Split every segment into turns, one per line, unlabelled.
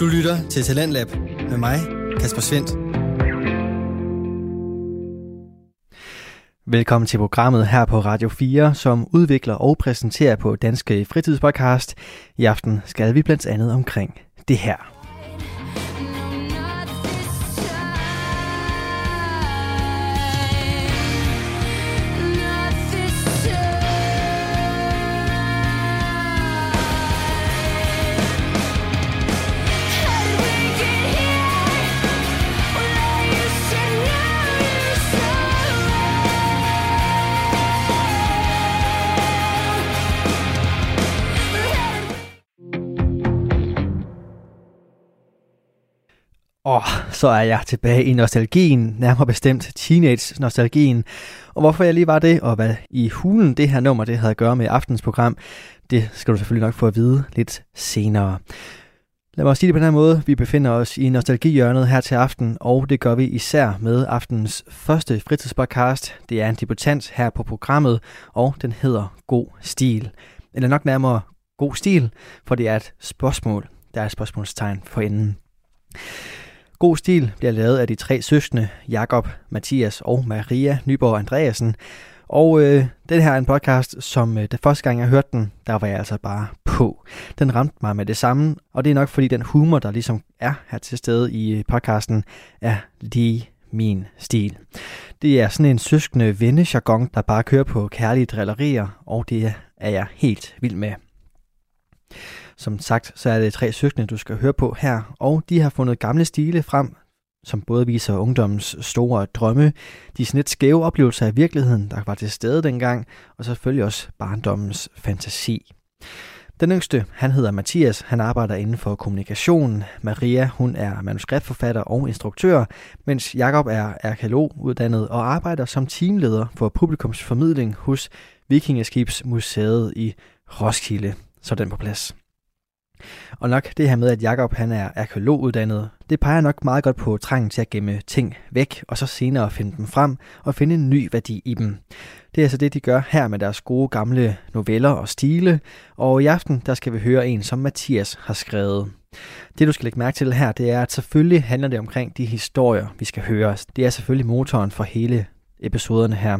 Du lytter til Talentlab med mig, Kasper Svendt. Velkommen til programmet her på Radio 4, som udvikler og præsenterer på Danske Fritidspodcast. I aften skal vi blandt andet omkring det her. Og så er jeg tilbage i nostalgien, nærmere bestemt teenage-nostalgien. Og hvorfor jeg lige var det, og hvad i hulen det her nummer det havde at gøre med aftens program, det skal du selvfølgelig nok få at vide lidt senere. Lad mig sige det på den her måde. Vi befinder os i nostalgihjørnet her til aften, og det gør vi især med aftenens første fritidspodcast. Det er en debutant her på programmet, og den hedder God Stil. Eller nok nærmere God Stil, for det er et spørgsmål. Der er et spørgsmålstegn for enden. God stil bliver lavet af de tre søskende, Jakob, Mathias og Maria Nyborg Andreasen. Og øh, den her er en podcast, som øh, det første gang jeg hørte den, der var jeg altså bare på. Den ramte mig med det samme, og det er nok fordi den humor, der ligesom er her til stede i øh, podcasten, er lige min stil. Det er sådan en søskende vennejargon, der bare kører på kærlige drillerier, og det er jeg helt vild med. Som sagt, så er det tre søskende, du skal høre på her, og de har fundet gamle stile frem, som både viser ungdommens store drømme, de sådan lidt skæve oplevelser af virkeligheden, der var til stede dengang, og selvfølgelig også barndommens fantasi. Den yngste, han hedder Mathias, han arbejder inden for kommunikation. Maria, hun er manuskriptforfatter og instruktør, mens Jakob er arkeolog uddannet og arbejder som teamleder for publikumsformidling hos Vikingeskibsmuseet i Roskilde. Så er den på plads. Og nok det her med, at Jakob han er arkeologuddannet, det peger nok meget godt på trangen til at gemme ting væk, og så senere finde dem frem og finde en ny værdi i dem. Det er altså det, de gør her med deres gode gamle noveller og stile, og i aften der skal vi høre en, som Mathias har skrevet. Det du skal lægge mærke til her, det er, at selvfølgelig handler det omkring de historier, vi skal høre. Det er selvfølgelig motoren for hele episoderne her.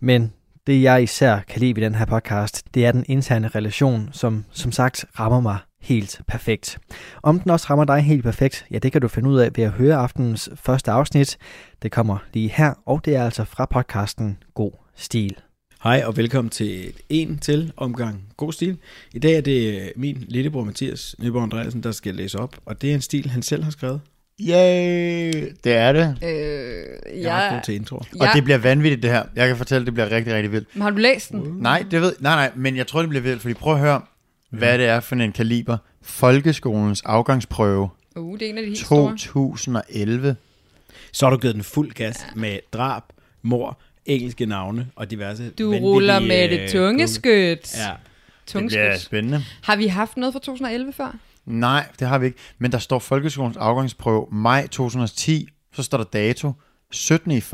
Men det jeg især kan lide ved den her podcast, det er den interne relation, som som sagt rammer mig helt perfekt. Om den også rammer dig helt perfekt, ja det kan du finde ud af ved at høre aftenens første afsnit. Det kommer lige her, og det er altså fra podcasten God Stil.
Hej og velkommen til en til omgang God Stil. I dag er det øh, min lillebror Mathias Nyborg Andreasen, der skal læse op, og det er en stil, han selv har skrevet.
Yay! Det er det.
Øh,
Jeg er ret
jeg,
god til introer.
Og
jeg,
det bliver vanvittigt, det her. Jeg kan fortælle, det bliver rigtig, rigtig vildt.
Men har du læst den?
Nej, det ved, nej, nej, men jeg tror, det bliver vildt, fordi prøv at høre, hvad det er for en kaliber. Folkeskolens afgangsprøve
Uh, det er en af de helt store.
2011.
Så har du givet den fuld gas med drab, mor, engelske navne og diverse
Du
vanvittige,
ruller med
øh,
det tunge skyt.
Ja.
Det
Tunge
bliver
skyt.
spændende.
Har vi haft noget fra 2011 før?
Nej, det har vi ikke. Men der står folkeskolens afgangsprøve maj 2010, så står der dato 17. i 1.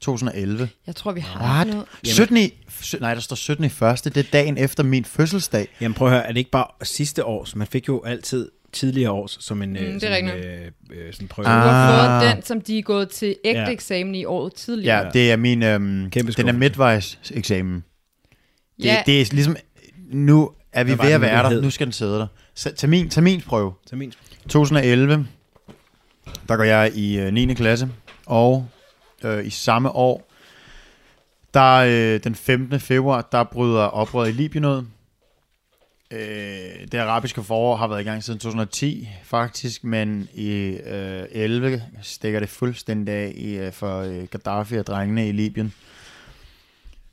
2011.
Jeg tror, vi har haft
What?
noget.
17. i, sy- nej, der står 17. i 1. Det er dagen efter min fødselsdag.
Jamen prøv at høre, er det ikke bare sidste års? Man fik jo altid tidligere års som en, mm,
det er
sådan,
rigtigt.
øh, øh, sådan prøve.
Du
Ah.
har
Ah.
fået den, som de er gået til ægte
Ja.
eksamen i året tidligere.
Ja, det er min, øhm,
Kæmpe
den er
skuffelse.
midtvejs eksamen. Det,
Ja.
ja. det er ligesom, nu er vi
Hvad var
ved
det
at
nu, den
være der.
hed?
Nu skal den sidde der. Så termin, terminsprøve.
Så min
2011, der går jeg i øh, 9. klasse, og øh, i samme år, der øh, den 15. februar, der bryder oprøret i Libyen ud. Øh, det arabiske forår har været i gang siden 2010 faktisk, men i øh, 11 stikker det fuldstændig af i, øh, for øh, Gaddafi og drengene i Libyen.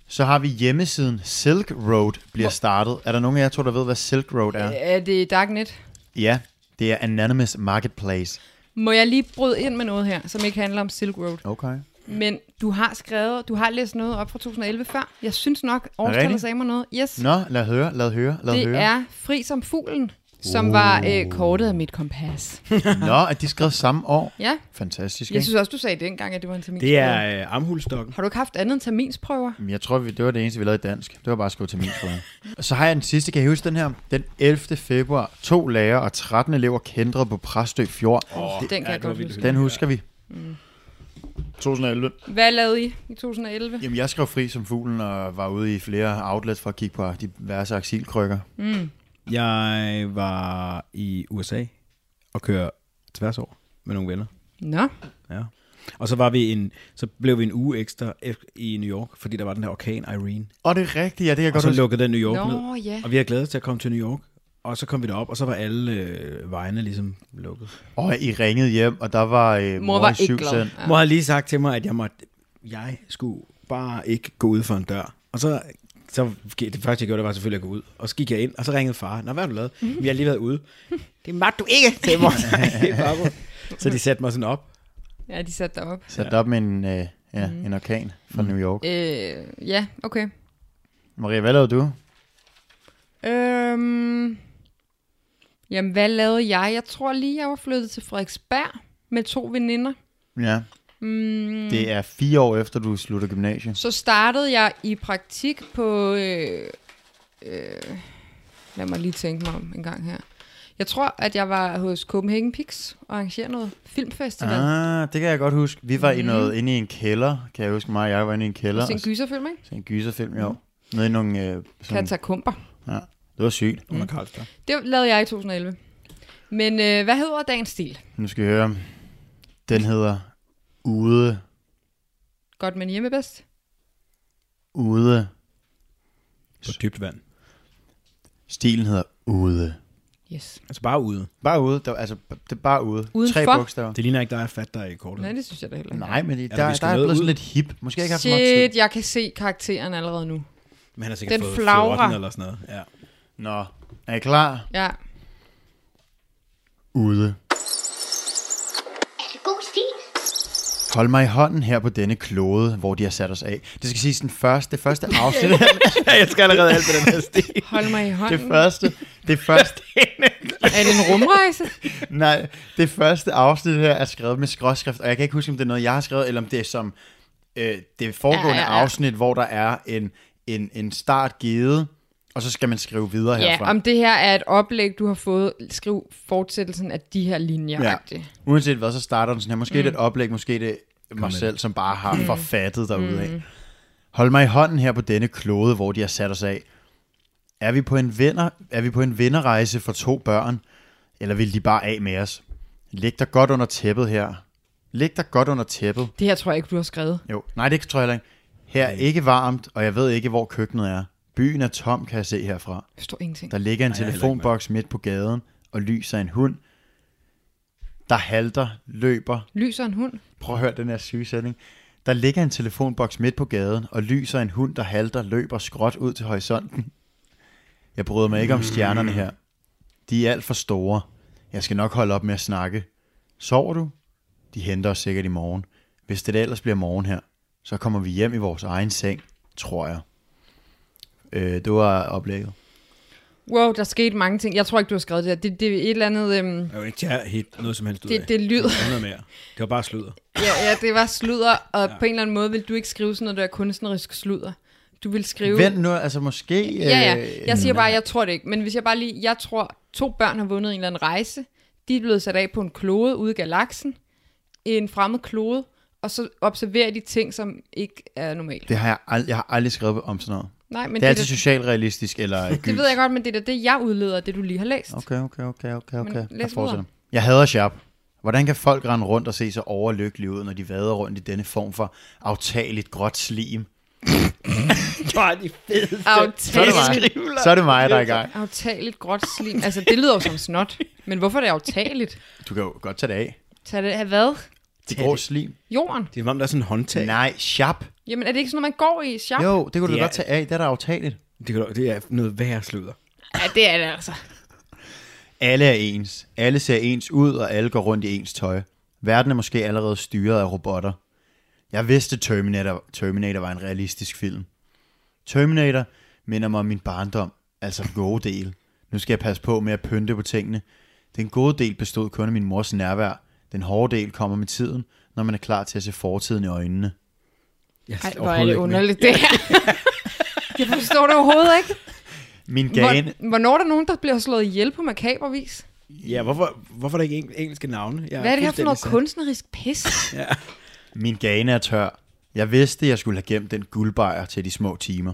Så har vi hjemmesiden Silk Road bliver startet. Er der nogen af jer to, der ved, hvad Silk Road er?
Er det Darknet?
Ja, det er Anonymous Marketplace.
Må jeg lige bryde ind med noget her, som ikke handler om Silk Road?
Okay.
Men du har skrevet, du har læst noget op fra 2011 før. Jeg synes nok, årstallet
rigtigt?
sagde mig noget. Yes,
Nå, lad høre, lad høre, lad
det
høre.
er Fri som fuglen. som var øh, kortet af mit kompas.
Nå, at de skrev samme år.
Ja,
Fantastisk,
jeg
ikke?
synes også, du sagde dengang, at det var en terminsprøve.
Det er øh, armhulstokken.
Har du ikke haft andet end terminsprøver?
Jamen, Jeg tror, vi- det var det eneste, vi lavede i dansk. Det var bare at skrive til min skole. Og så har jeg den sidste, kan jeg huske den her? Den 11. februar. To lærere og 13 elever kendte på Præstø Fjord.
Åh,
den kan jeg
det var
godt
vildt
huske.
hyggeligt.
Den husker vi.
Mm.
2011.
Hvad lavede I i 2011?
Jamen, jeg skrev fri som fuglen og var ude i flere outlets for at kigge på diverse aksilkrykker.
Jeg var i USA og kører tværs over med nogle venner.
Nå,
Ja. Og så var vi en, så blev vi en uge ekstra ef- i New York, fordi der var den her orkan Irene.
Og det er rigtigt, ja, det kan jeg
Og
godt
så
huske.
lukkede den New York ned.
Nå ja.
Og vi havde glædet os til at komme til New York. Og så kom vi derop, og så var alle øh, vejene ligesom lukket.
Og I ringede hjem, og der var øh,
Mor var
i
ikke
syv
glad.
cent.
Ja. Mor havde lige sagt til mig, at jeg, måtte, jeg skulle bare ikke gå ud for en dør. Og så, så det første, jeg gjorde, det var selvfølgelig at gå ud. Og så gik jeg ind, og så ringede far. Nå, hvad har du lavet? Vi har lige været ude. Det måtte du ikke, til mor. så de satte mig sådan op.
Ja, de satte dig op.
Sat op med en, øh, ja,
Mm.
en orkan fra
Mm.
New York.
Øh, ja, okay.
Maria, hvad lavede du?
Øhm, jamen, hvad lavede jeg? Jeg tror lige, jeg var flyttet til Frederiksberg med to veninder.
Ja. Mm. Det er fire år efter, du slutter gymnasiet.
Så startede jeg i praktik på... Øh, øh, lad mig lige tænke mig om en gang her. Jeg tror, at jeg var hos Copenhagen Pix og arrangerede noget filmfestival. Ah,
Ah, det kan jeg godt huske. Vi var mm. i noget, inde i en kælder, kan jeg huske mig. og Jeg var inde i en Mm. kælder.
Sin gyserfilm, ikke?
Så en gyserfilm, jo. Nede i nogle... Øh, sådan,
Katakomber.
ja, det var sygt.
Under Karlstad.
Mm. Det lavede jeg i 2011. Men øh, hvad hedder dagens stil?
Nu skal I høre. Den hedder Ude,
Godt, men hjemme bedst?
Ude.
På dybt vand.
Stilen hedder Ude.
Yes.
Mm.
Altså bare ude.
Bare ude. Der, altså, det er bare ude.
Udenfor?
Tre bogstaver.
Det ligner ikke dig, jeg fat dig i kortet.
Nej, det synes jeg da heller ikke.
Nej, men det,
Ja,
der,
vi
der,
skal
er jeg
noget
blevet sådan
ud.
lidt hip. Måske har jeg ikke haft så meget
Shit,
tid.
jeg kan se karakteren allerede nu.
Men han har sikkert
Den
fået
flagrer.
14 eller sådan noget. Ja.
Nå, er I klar?
Ja.
Ude.
Er det god stil?
Hold mig i hånden her på denne klode, hvor de har sat os af. Det skal siges, den første, det første afsnit,
jeg skal allerede alt på den her stil.
Hold mig i
det
hånden.
første, det første,
er det en rumrejse?
nej, det første afsnit her er skrevet med skråskrift, og jeg kan ikke huske, om det er noget, jeg har skrevet, eller om det er som øh, det foregående
Ja, ja, ja.
afsnit, hvor der er en, en, en start givet, og så skal man skrive videre
ja,
herfra.
om det her er et oplæg, du har fået. Skriv fortsættelsen af de her linjer.
Ja.
Ja.
Uanset hvad, så starter den sådan her. Måske mm. det er et oplæg, måske det er mig
med
selv, som bare har mm. forfattet derude af. Hold mig i hånden her på denne klode, hvor de har sat os af. Er vi på en, venner, er vi på en vennerrejse for to børn, eller vil de bare af med os? Læg dig godt under tæppet her. Læg dig godt under tæppet.
Det her tror jeg ikke, du har skrevet.
Jo, nej, det tror jeg heller ikke. Her er ikke varmt, og jeg ved ikke, hvor køkkenet er. Byen er tom, kan jeg se herfra.
Jeg forstår ingenting.
Der ligger en
jeg er heller ikke
telefonboks midt på gaden, og lyser en hund, der halter, løber,
Lyser en hund?
Prøv at høre den her syge sætning. Der ligger en telefonboks midt på gaden, og lyser en hund, der halter, løber skråt ud til horisonten. Jeg bryder mig ikke om stjernerne her. De er alt for store. Jeg skal nok holde op med at snakke. Sover du? De henter os sikkert i morgen. Hvis det da ellers bliver morgen her, så kommer vi hjem i vores egen seng, tror jeg. Øh, det var oplægget.
Wow, der skete mange ting. Jeg tror ikke, du har skrevet det her. Det, det er et eller andet... Øhm,
Jeg vil ikke tage helt noget som helst ud af.
det, det lyder...
Der er noget mere. Det var bare sludder.
Ja, ja, det var sludder, og ja. på en eller anden måde vil du ikke skrive sådan noget der kunstnerisk sludder. Du vil skrive...
Vent nu, altså måske...
Ja, ja.
øh,
Jeg siger bare, jeg tror det ikke. Men hvis jeg bare lige... Jeg tror, to børn har vundet en eller anden rejse. De er blevet sat af på en klode ude i galaksen. En fremmed klode. Og så observerer de ting, som ikke er normalt.
Det har jeg, ald- jeg har aldrig skrevet om sådan noget.
Nej, men
Det er
det, da-
altid socialrealistisk, eller
det ved jeg godt, men det er da det, jeg udleder, af det du lige har læst. Okay.
Okay, okay, okay, okay, okay.
læs
Jeg
videre.
fortsætter. Jeg hader sharp. Hvordan kan folk rende rundt og se så overlykkelige ud, når de vader rundt i denne form for aftageligt gråt slim? Så er det mig, så er det mig der er i gang.
Aftageligt gråt slim. Altså, det lyder jo som snot. Men hvorfor er det aftageligt?
Du kan jo godt tage det af.
Tag det af hvad?
Det grå slim.
Jorden?
Det er som om, der er sådan en håndtag.
Nej, sharp.
Jamen, er det ikke sådan noget, man går i? Shop?
Jo, det kunne du
Det er-
godt tage af. Det er da aftageligt.
Det, kan, du- det er noget værre sludder.
Ja, det er det altså.
Alle er ens. Alle ser ens ud, og alle går rundt i ens tøj. Verden er måske allerede styret af robotter. Jeg vidste, Terminator, Terminator var en realistisk film. Terminator minder mig om min barndom, altså den gode del. Nu skal jeg passe på med at pynte på tingene. Den gode del bestod kun af min mors nærvær. Den hårde del kommer med tiden, når man er klar til at se fortiden i øjnene.
Jeg
Ej, hvor er
overhovedet
det
ikke med.
underligt det her. Jeg forstår det overhovedet ikke.
Min gane...
Hvor, hvornår er der nogen, der bliver slået ihjel på makaber vis?
Ja, hvorfor, hvorfor er der ikke eng- engelske navne? Jeg er
Hvad er det her for noget
fuldstændig
kunstnerisk pis?
Min gane er tør. Jeg vidste, jeg skulle have gemt den guldbejer til de små timer.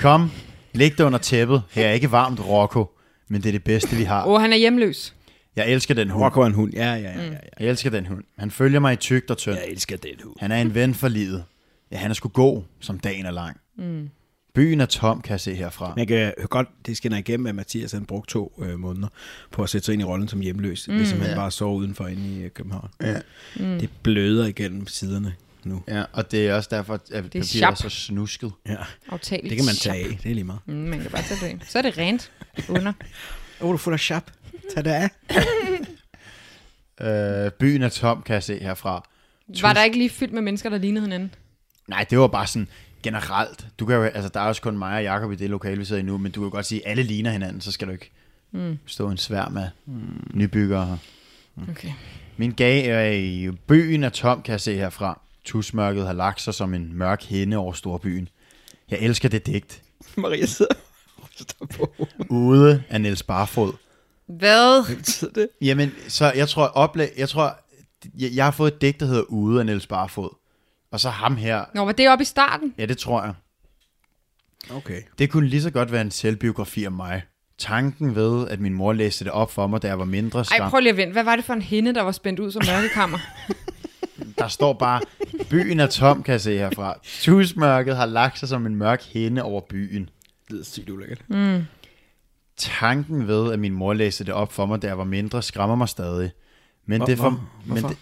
Kom, læg dig under tæppet. Her er ikke varmt, Rocco. Men det er det bedste, vi har.
Åh, oh, han er hjemløs.
Jeg elsker den
sat.
hund.
Rocco er en hund. Ja, ja, ja, ja, ja.
Jeg elsker den hund. Han følger mig i tygt og
Mm.
tyndt.
Jeg elsker den hund.
Han er en ven for livet. Ja, han er sgu god, som dagen er lang. Mm. Byen er tom, kan jeg se herfra.
Man kan godt, det skinner igennem, at Mathias han brugte to øh, måneder på at sætte sig ind i rollen som hjemløs, mm, hvis han ja. bare sov udenfor inde i øh, København. Ja. Mm. Det bløder igennem siderne nu.
Ja, og det er også derfor, at papiret er,
sharp.
så snusket.
Ja.
Aftageligt.
Det kan man tage af, det er lige meget.
Mm, man kan bare tage det af. Så er det rent under.
Åh, oh, du er fuld af sharp. Tag det af.
Øh, byen er tom, kan jeg se herfra.
Var der ikke lige fyldt med mennesker, der lignede hinanden?
Nej, det var bare sådan generelt. Du kan jo, altså, der er også kun mig og Jacob i det lokale, vi sidder i nu, men du kan jo godt sige, at alle ligner hinanden, så skal du ikke mm. stå en sværm af mm. nybyggere her.
Okay.
Min gag er i byen er tom, kan jeg se herfra. Tusmørket har lagt sig som en mørk hende over storbyen. Jeg elsker det digt.
Maria sidder og ryster på hovedet.
Ude af Niels Barfod.
Hvad?
Sidder det?
Jamen, så jeg tror, oplæg, jeg tror, jeg, jeg har fået et digt, der hedder Ude af Niels Barfod. Og så ham her.
Nå, var det oppe i starten?
Ja, det tror jeg.
Okay.
Det kunne lige så godt være en selvbiografi om mig. Tanken ved, at min mor læste det op for mig, da jeg var mindre
Ej,
skam.
prøv lige at vente. Hvad var det for en hende, der var spændt ud som mørkekammer?
Der står bare, byen er tom, kan jeg se herfra. Tusmørket har lagt sig som en mørk hende over byen.
Det er sygt ulækkert.
Tanken ved, at min mor læste det op for mig, da jeg var mindre, skræmmer mig stadig. Men
Hvor-
det er for...
hvor-
men
hvorfor?
det,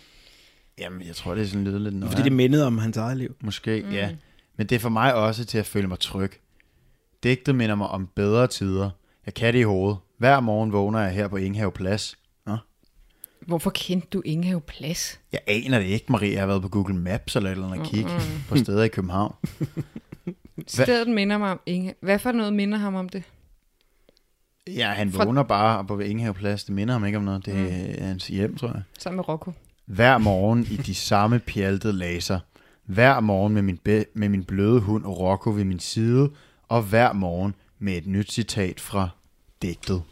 jamen, jeg tror, det er sådan lidt lidt noget.
Fordi det mindede om hans eget liv.
Måske, mm. ja. Men det er for mig også til at føle mig tryg. Digtet minder mig om bedre tider. Jeg kan det i hovedet. Hver morgen vågner jeg her på Inghave Plads. Nå?
Hvorfor kendte du Ingehave Plads?
Jeg aner det ikke, Marie. Jeg har været på Google Maps eller et eller andet og kigge på steder i København.
Stedet minder mig om Inge. Hvad for noget minder ham om det?
Ja, han
Fra- Mm.
vågner bare på Inghave Plads. Det minder ham ikke om noget. Det er hans hjem, tror jeg.
Sammen med Rocco.
Hver morgen i de samme pjaltede laser. Hver morgen med min, be- med min bløde hund og Rocco ved min side. Og hver morgen med et nyt citat fra digtet.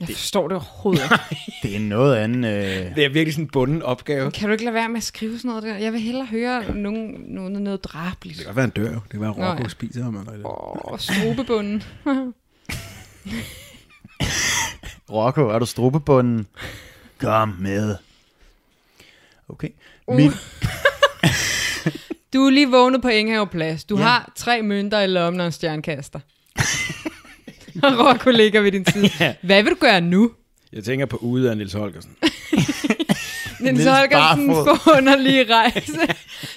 Jeg forstår det overhovedet ikke.
Det er noget andet... Øh...
Det er virkelig sådan en bunden opgave.
Kan du ikke lade være med at skrive sådan noget der? Jeg vil hellere høre nogen, nogen noget ligesom. drabeligt.
Det kan godt være, han dør. jo. Det kan være, at Rocco
Nå, ja.
spiser ham. Eller eller.
Åh, oh, strubebunden.
Rocco, er du strubebunden? Kom med. Okay. Min,
Du er lige vågnet på Inghave Plads. Du ja. har tre mønter i lommen og en stjernkaster. og Rocco ligger ved din side. Ja. Hvad vil du gøre nu?
Jeg tænker på ude af Nils Holgersen.
Den
Niels
Holgersen
Barfod.
forunderlige rejse.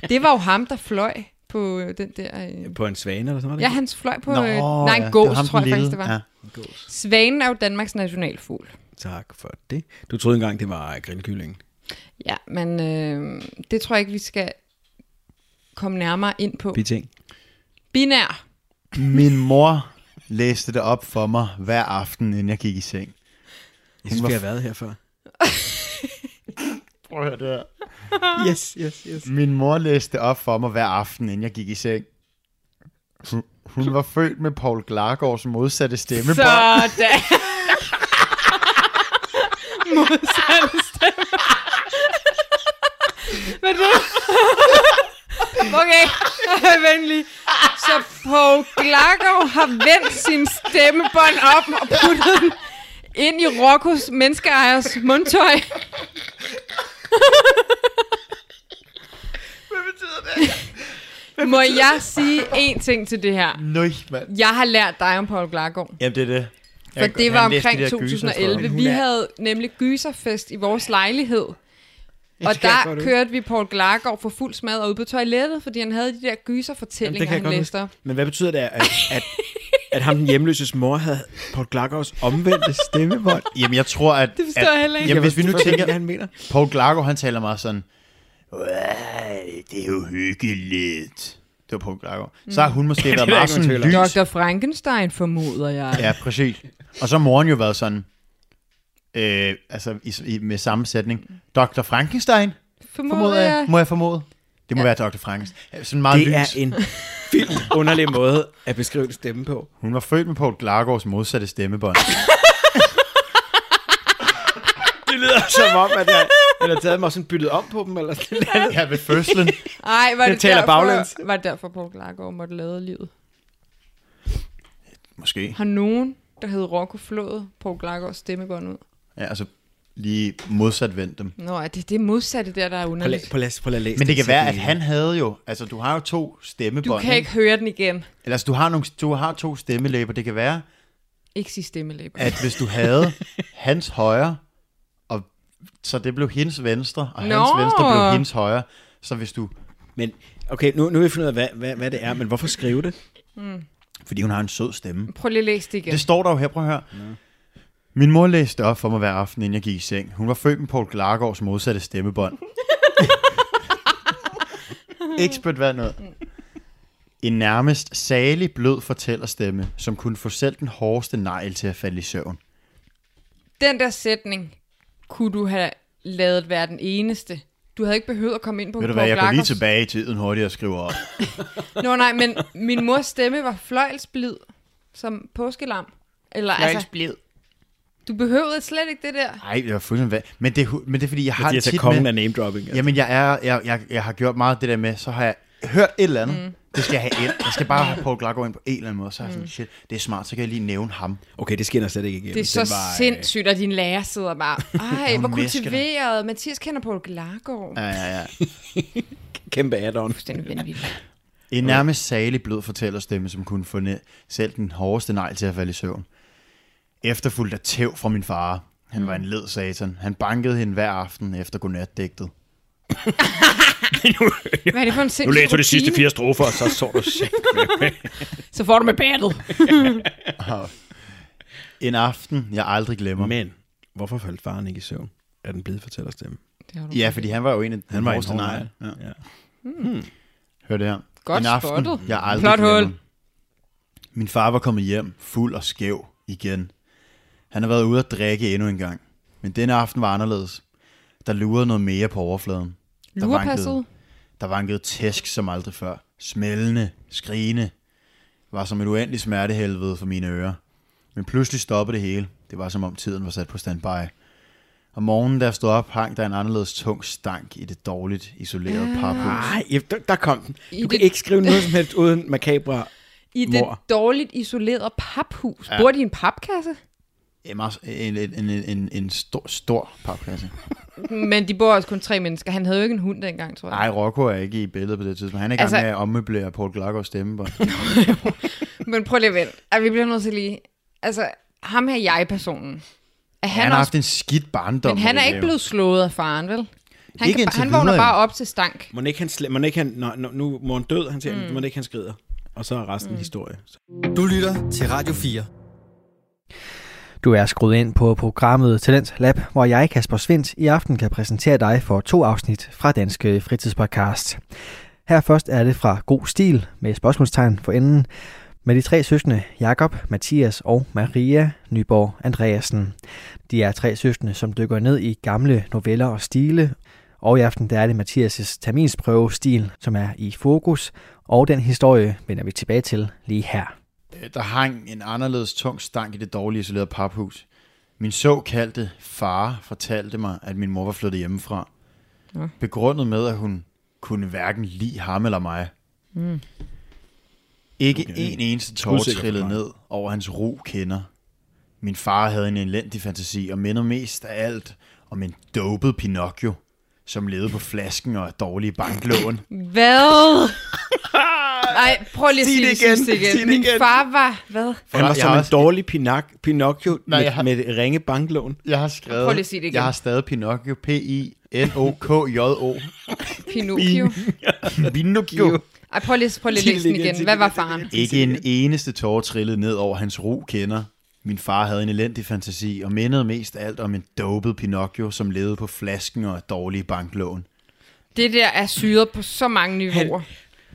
Det var jo ham, der fløj på øh, den der... øh,
På en svane eller sådan noget.
Ja,
ikke?
han fløj på... Nå, øh, nej, en gås, tror jeg faktisk, det var. Ja.
Ja.
Svanen er jo Danmarks nationalfugl.
Tak for det. Du troede engang, det var grillkyllingen.
Ja, men øh, det tror jeg ikke, vi skal komme nærmere ind på.
Biting.
Binær.
Min mor læste det op for mig hver aften, inden jeg gik i seng.
Jeg synes,
var-
vi har været her før.
Prøv at høre det her.
Yes, yes, yes.
Min mor læste det op for mig hver aften, inden jeg gik i seng. Hun- Hun var født med Paul Glargaards modsatte stemme.
Sådan. Modsatte stemme. Hvad er det? Okay, venlig. Så Paul Glakov har vendt sin stemmebånd op og puttet den ind i Rokkos menneskeejers mundtøj. Hvad betyder det? Må jeg sige én ting til det her?
Nøj, mand.
Jeg har lært dig om Paul Glargaard.
Jamen, det er det.
For
Jeg-
det
han
var
læste
omkring
de der
2011.
gysersteder.
Vi havde nemlig gyserfest i vores lejlighed. Og
kan jeg
der
godt huske.
kørte vi Paul Glargaard for fuld smad og ud på toilettet, fordi han havde de der gyserfortællinger, han læste op.
Men hvad betyder det, at, at, at ham den hjemløses mor havde Paul Glakos omvendte stemmebånd?
Jamen, jeg tror, at...
Det forstår
at,
jeg heller ikke.
Jamen, hvis vi nu
Forstår
tænker...
ikke, hvad han mener.
Paul Glargo, han taler meget sådan, "Uah, det er jo hyggeligt. Det var Paul Gregor. Så har hun måske været
der
meget
ikke nogen
sådan
tvivl
lys.
Dr. Frankenstein formoder jeg.
Ja, præcis. Og så har moren jo været sådan, øh, altså i, i, med samme sætning, Dr. Frankenstein,
Formoder
formoder
jeg.
jeg, må jeg formode. Det må ja. være Dr. Frankenstein. Sådan meget
Det
lys.
er en vildt underlig måde at beskrive en stemme på.
Hun var født med Paul Glargaards modsatte stemmebånd.
Det lyder som om, at jeg, eller taget mig og sådan byttet om på dem, eller sådan noget.
ja, ved fødslen.
Ej, var
Jeg
det,
taler
derfor,
baglæns.
var det derfor, Paul Glargaard måtte lade livet?
Måske.
Har nogen, der hed Rocco Flået, Paul Glargaards stemmebånd ud?
Ja, altså lige modsat vendt dem.
Nå, er det det er modsatte der, der er
Prøv
underligt?
at- Prøv at- prøv at læse
Men det kan
den
være, at
sætning.
han havde jo, altså du har jo to
Du
stemmebånd.
kan ikke høre den igen.
Eller, altså, du har, nogle, du har to stemmelæber. Det kan være,
Ikke sige stemmelæber.
at hvis du havde hans højre, og så det blev hendes venstre, og hans
Nå.
venstre blev hendes højre, så hvis du...
Men okay, nu, nu har vi fundet ud af, hvad, hvad, hvad det er, men hvorfor skrive det?
Fordi hun har en sød stemme.
Prøv lige at læse det igen.
Det står der jo her, prøv at høre. Min mor læste op for mig hver aften, inden jeg gik i seng. Hun var født med Paul Glargaards modsatte stemmebånd. Expert hvad noget. En nærmest salig blød fortællerstemme, som kunne få selv den hårdeste negl til at falde i søvn.
Den der sætning kunne du have lavet være den eneste. Du havde ikke behøvet at komme ind på
Ved du
Paul
hvad, jeg går lige
Glargaards-
tilbage i tiden hurtigt og skriver op.
Nå nej, men min mors stemme var fløjlsblid som påskelam. Eller altså,
blid.
du behøvede slet ikke det der.
Nej, det var fuldstændig hvad. Men det, er hu- men det er fordi, jeg har
Fordi
det
jeg tager
tit
kongen
med...
af name dropping. Altså.
Jamen, jeg, er, jeg, jeg, jeg har gjort meget af det der med, så har jeg hørt et eller andet. Mm. Det skal jeg have ind. Jeg skal bare have Paul Glargaard ind på en eller anden måde. Så er jeg sådan, shit, det er smart, så kan jeg lige nævne ham.
Okay, det skinner slet ikke igennem.
Det er så
Den var, øh,
sindssygt, at din lærer sidder bare, ej, hvor
hun mæsker dig."
kultiveret. Mathias kender Paul Glargaard.
Ja, ja, ja.
Kæmpe add-on.
Fuldstændig vanvittigt.
En nærmest salig blød fortællerstemme, som kunne få ned, selv den hårdeste negl til at falde i søvn. Efterfuldt af tæv fra min far. Han var en led satan. Han bankede hende hver aften efter godnatdigtet.
Hvad er det for en sindssyg Nu læser du de sidste fire strofer, og så så du Så får du med battet.
En aften, jeg aldrig glemmer. Men.
Men hvorfor faldt faren ikke i søvn? Er den blevet fortæller stemme?
Det har du
Ja, fordi han var jo en af den
var en
hårdeste
hård
negl. Ja.
negl. Ja.
Hør det her.
Godt
en aften,
spottet.
jeg aldrig
Flot hul.
glemmer. Min far var kommet hjem, fuld og skæv igen. Han har været ude at drikke endnu en gang. Men denne aften var anderledes. Der lurede noget mere på overfladen. Der
Lurepasset.
Der vankede tæsk som aldrig før. Smældende, skrigende. Var som et uendeligt smertehelvede for mine ører. Men pludselig stoppede det hele. Det var som om tiden var sat på standby. Om morgenen, da jeg stod op, hang der en anderledes tung stank i det dårligt isolerede
Ah.
paphus.
Ej, ja, der, der kom den.
I
Du kan
det-
ikke skrive noget som helst uden makabre.
I det
Mor.
dårligt isolerede paphus. Bor de i en papkasse?
En, meget- en, en, en, en, en stor, stor papkasse.
Men de bor også kun tre mennesker. Han havde jo ikke en hund dengang, tror jeg.
Nej, Rocco er ikke i billedet på det tidspunkt. Han er i gang
Altså-
altså, med at ommøblere Paul Glargaards stemmebånd.
Men prøv lige at vente. Ej, vi bliver nødt til lige... Altså, ham her jeg-personen. Er han,
Han, han har
også...
haft en skidt barndom.
Men han
med
er
det
ikke
der.
blevet slået af faren, vel? Han,
Ikke
kan,
indtil
han vågner
videre,
bare op til stank.
Må ikke han, sle- mon ikke han nå, nå, nu må han død, han siger, mm. må ikke han skrider. Og så er resten mm. historie.
Du lytter til Radio 4. Du er skruet ind på programmet Talent Lab, hvor jeg, Kasper Svendt, i aften kan præsentere dig for to afsnit fra Danske Fritidspodcast. Her først er det fra God Stil med spørgsmålstegn for enden med de tre søskende Jakob, Mathias og Maria Nyborg Andreasen. De er tre søskende, som dykker ned i gamle noveller og stile, og i aften der er det Mathias' terminsprøvestil, som er i fokus, og den historie vender vi tilbage til lige her.
Øh, Der hang en anderledes tung stank i det dårlige isolerede paphus. Min såkaldte far fortalte mig, at min mor var flyttet hjemmefra.
Nå.
Begrundet med, at hun kunne hverken lide ham eller mig. Mm. Ikke okay. en eneste tårer
Usikker
trillede
forklaring.
ned over hans ro kender. Min far havde en elendig fantasi og minder mest af alt om en dopet Pinocchio, som levede på flasken og af dårlige banklån.
Hvad? Nej, prøv lige at
Sig
sige
det
det sidste
igen.
igen.
Sig det
Min
igen.
far var... Hvad?
Han var
Jeg
som
har
en
også-
dårlig Pinac- Pinocchio
Nej,
med,
jeg har-
med et ringe banklån.
Jeg har skrevet...
Prøv lige at sige det igen.
Jeg har stadig Pinocchio. P-I-N-O-K-J-O.
Pinocchio.
Pinocchio.
Ej, prøv lige, prøv lige at
Sig det
læse den
igen, sig
igen.
det
Hvad var
igen, sig det
faren?
Ikke en eneste tårer trillede ned over hans ro kender. Min far havde en elendig fantasi og mindede mest af alt om en dopet Pinocchio, som levede på flasken og af dårlige banklån.
Det der er syret på så mange niveauer. Han,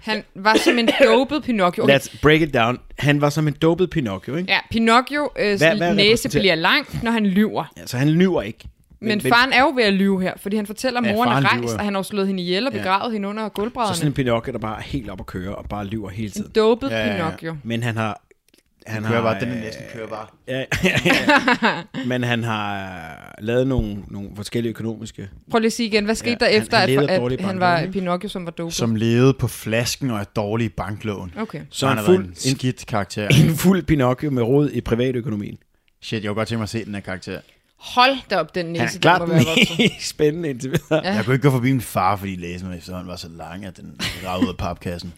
Han var som en dopet Pinocchio. Okay.
Let's break it down. Han var som en dopet Pinocchio, ikke?
Ja, Pinocchio øh,
Hvad- hvad
næse
repræsenterer-
bliver lang, når han lyver.
Ja. Så han lyver ikke.
Men, men faren er jo ved at lyve her, fordi han fortæller, at
Ja,
moren
faren
er
lyver.
rejst, og han har jo slået hende ihjel og begravet ja. hende under
Så sådan en
gulvbrædderne.
Pinocchio, der bare er helt op at køre og bare lyver hele
En
tiden.
dopet
Ja,
ja,
ja, ja.
Pinocchio.
Men han har... Han
kører
har,
bare, den er
øh,
næsten kører bare.
Ja, ja, ja. Men han har øh, lavet nogle, nogle forskellige økonomiske...
Prøv lige at sige igen, hvad skete
Ja,
ja, der
han-
efter,
han levede
at, at,
dårligt
han
barndom,
var
ikke?
Pinocchio, som var dopet?
Som levede på flasken og er dårlig i banklån.
Okay.
Så
han
en
har været
fuld,
en skidt karakter.
en, en fuld Pinocchio med rod i privatøkonomien.
Shit, jeg kunne godt tænke mig at se den her karakter.
Hold da op, den næse.
Han er klart
den
den
må være voksen.
mest spændende indtil videre.
Ja.
Jeg kunne ikke gå forbi min far, fordi læsen efterhånden var så lang, at den ragede ud af papkassen.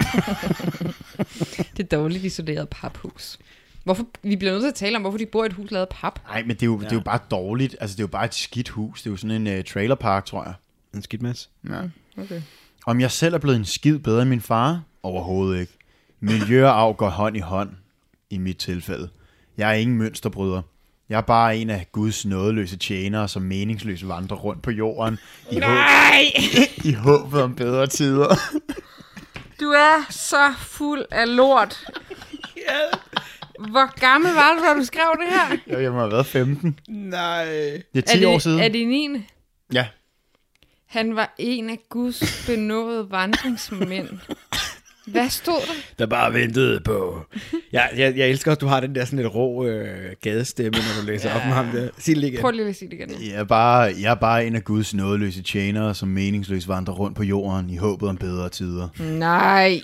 Det dårligt isolerede paphus. Hvorfor, vi bliver nødt til at tale om, hvorfor de bor i et hus lavet af pap.
Nej, men det er, jo, ja. det er jo bare dårligt. Altså, det er jo bare et skidt hus. Det er jo sådan en uh, trailerpark, tror jeg.
En skidt masse.
Ja.
Okay.
Om jeg selv er blevet en skid bedre end min far? Overhovedet ikke. Miljø og arv går hånd i hånd, i mit tilfælde. Jeg er ingen mønsterbryder. Jeg er bare en af Guds nådeløse tjenere, som meningsløst vandrer rundt på jorden i, håb,
Nej!
i håbet om bedre tider.
Du er så fuld af lort. Hvor gammel var du, da du skrev det her?
Jeg, jeg må have været 15.
Nej.
Det er 10
er det,
år siden.
Er det 9?
Ja.
Han var en af Guds benåede vandringsmænd. Hvad stod der?
Der bare ventede på... Jeg, jeg, jeg elsker også, du har den der sådan lidt rå øh, gadestemme, når du læser ja. op med ham der. Sig det lige igen.
Prøv lige at sige det igen.
Jeg er, bare, jeg er bare en af Guds nådeløse tjenere, som meningsløst vandrer rundt på jorden i håbet om bedre tider.
Nej.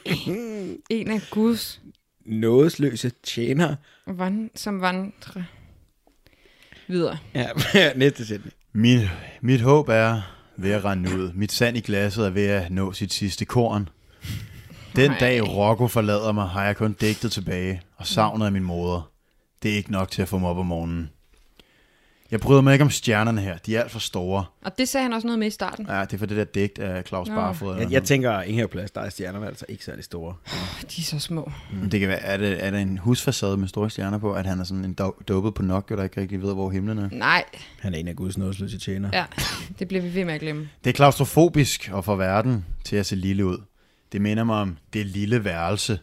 En af Guds,
Nådesløse tjener.
vand, som vandrer videre.
Ja, næste sætning.
Min, mit håb er ved at rende ud. Mit sand i glasset er ved at nå sit sidste korn. Den
Nej.
dag Rocco forlader mig, har jeg kun digtet tilbage og savnet af min moder. Det er ikke nok til at få mig op om morgenen. Jeg bryder mig ikke om stjernerne her. De er alt for store.
Og det sagde han også noget med i starten.
Ja, det er for det der digt af Claus
Nå.
Barfod. eller
Jeg, jeg
noget.
tænker, at Ingher Plads, der er stjernerne altså ikke særlig store.
De er så små.
Men Det kan være, er det, er det en husfacade med store stjerner på, at han er sådan en do- dopet på nok, og der ikke rigtig ved, hvor himlen er?
Nej,
Han er en af Guds nådesløse tjener.
ja, det bliver vi ved med at glemme.
Det er klaustrofobisk og for verden til at se lille ud. Det minder mig om det lille værelse,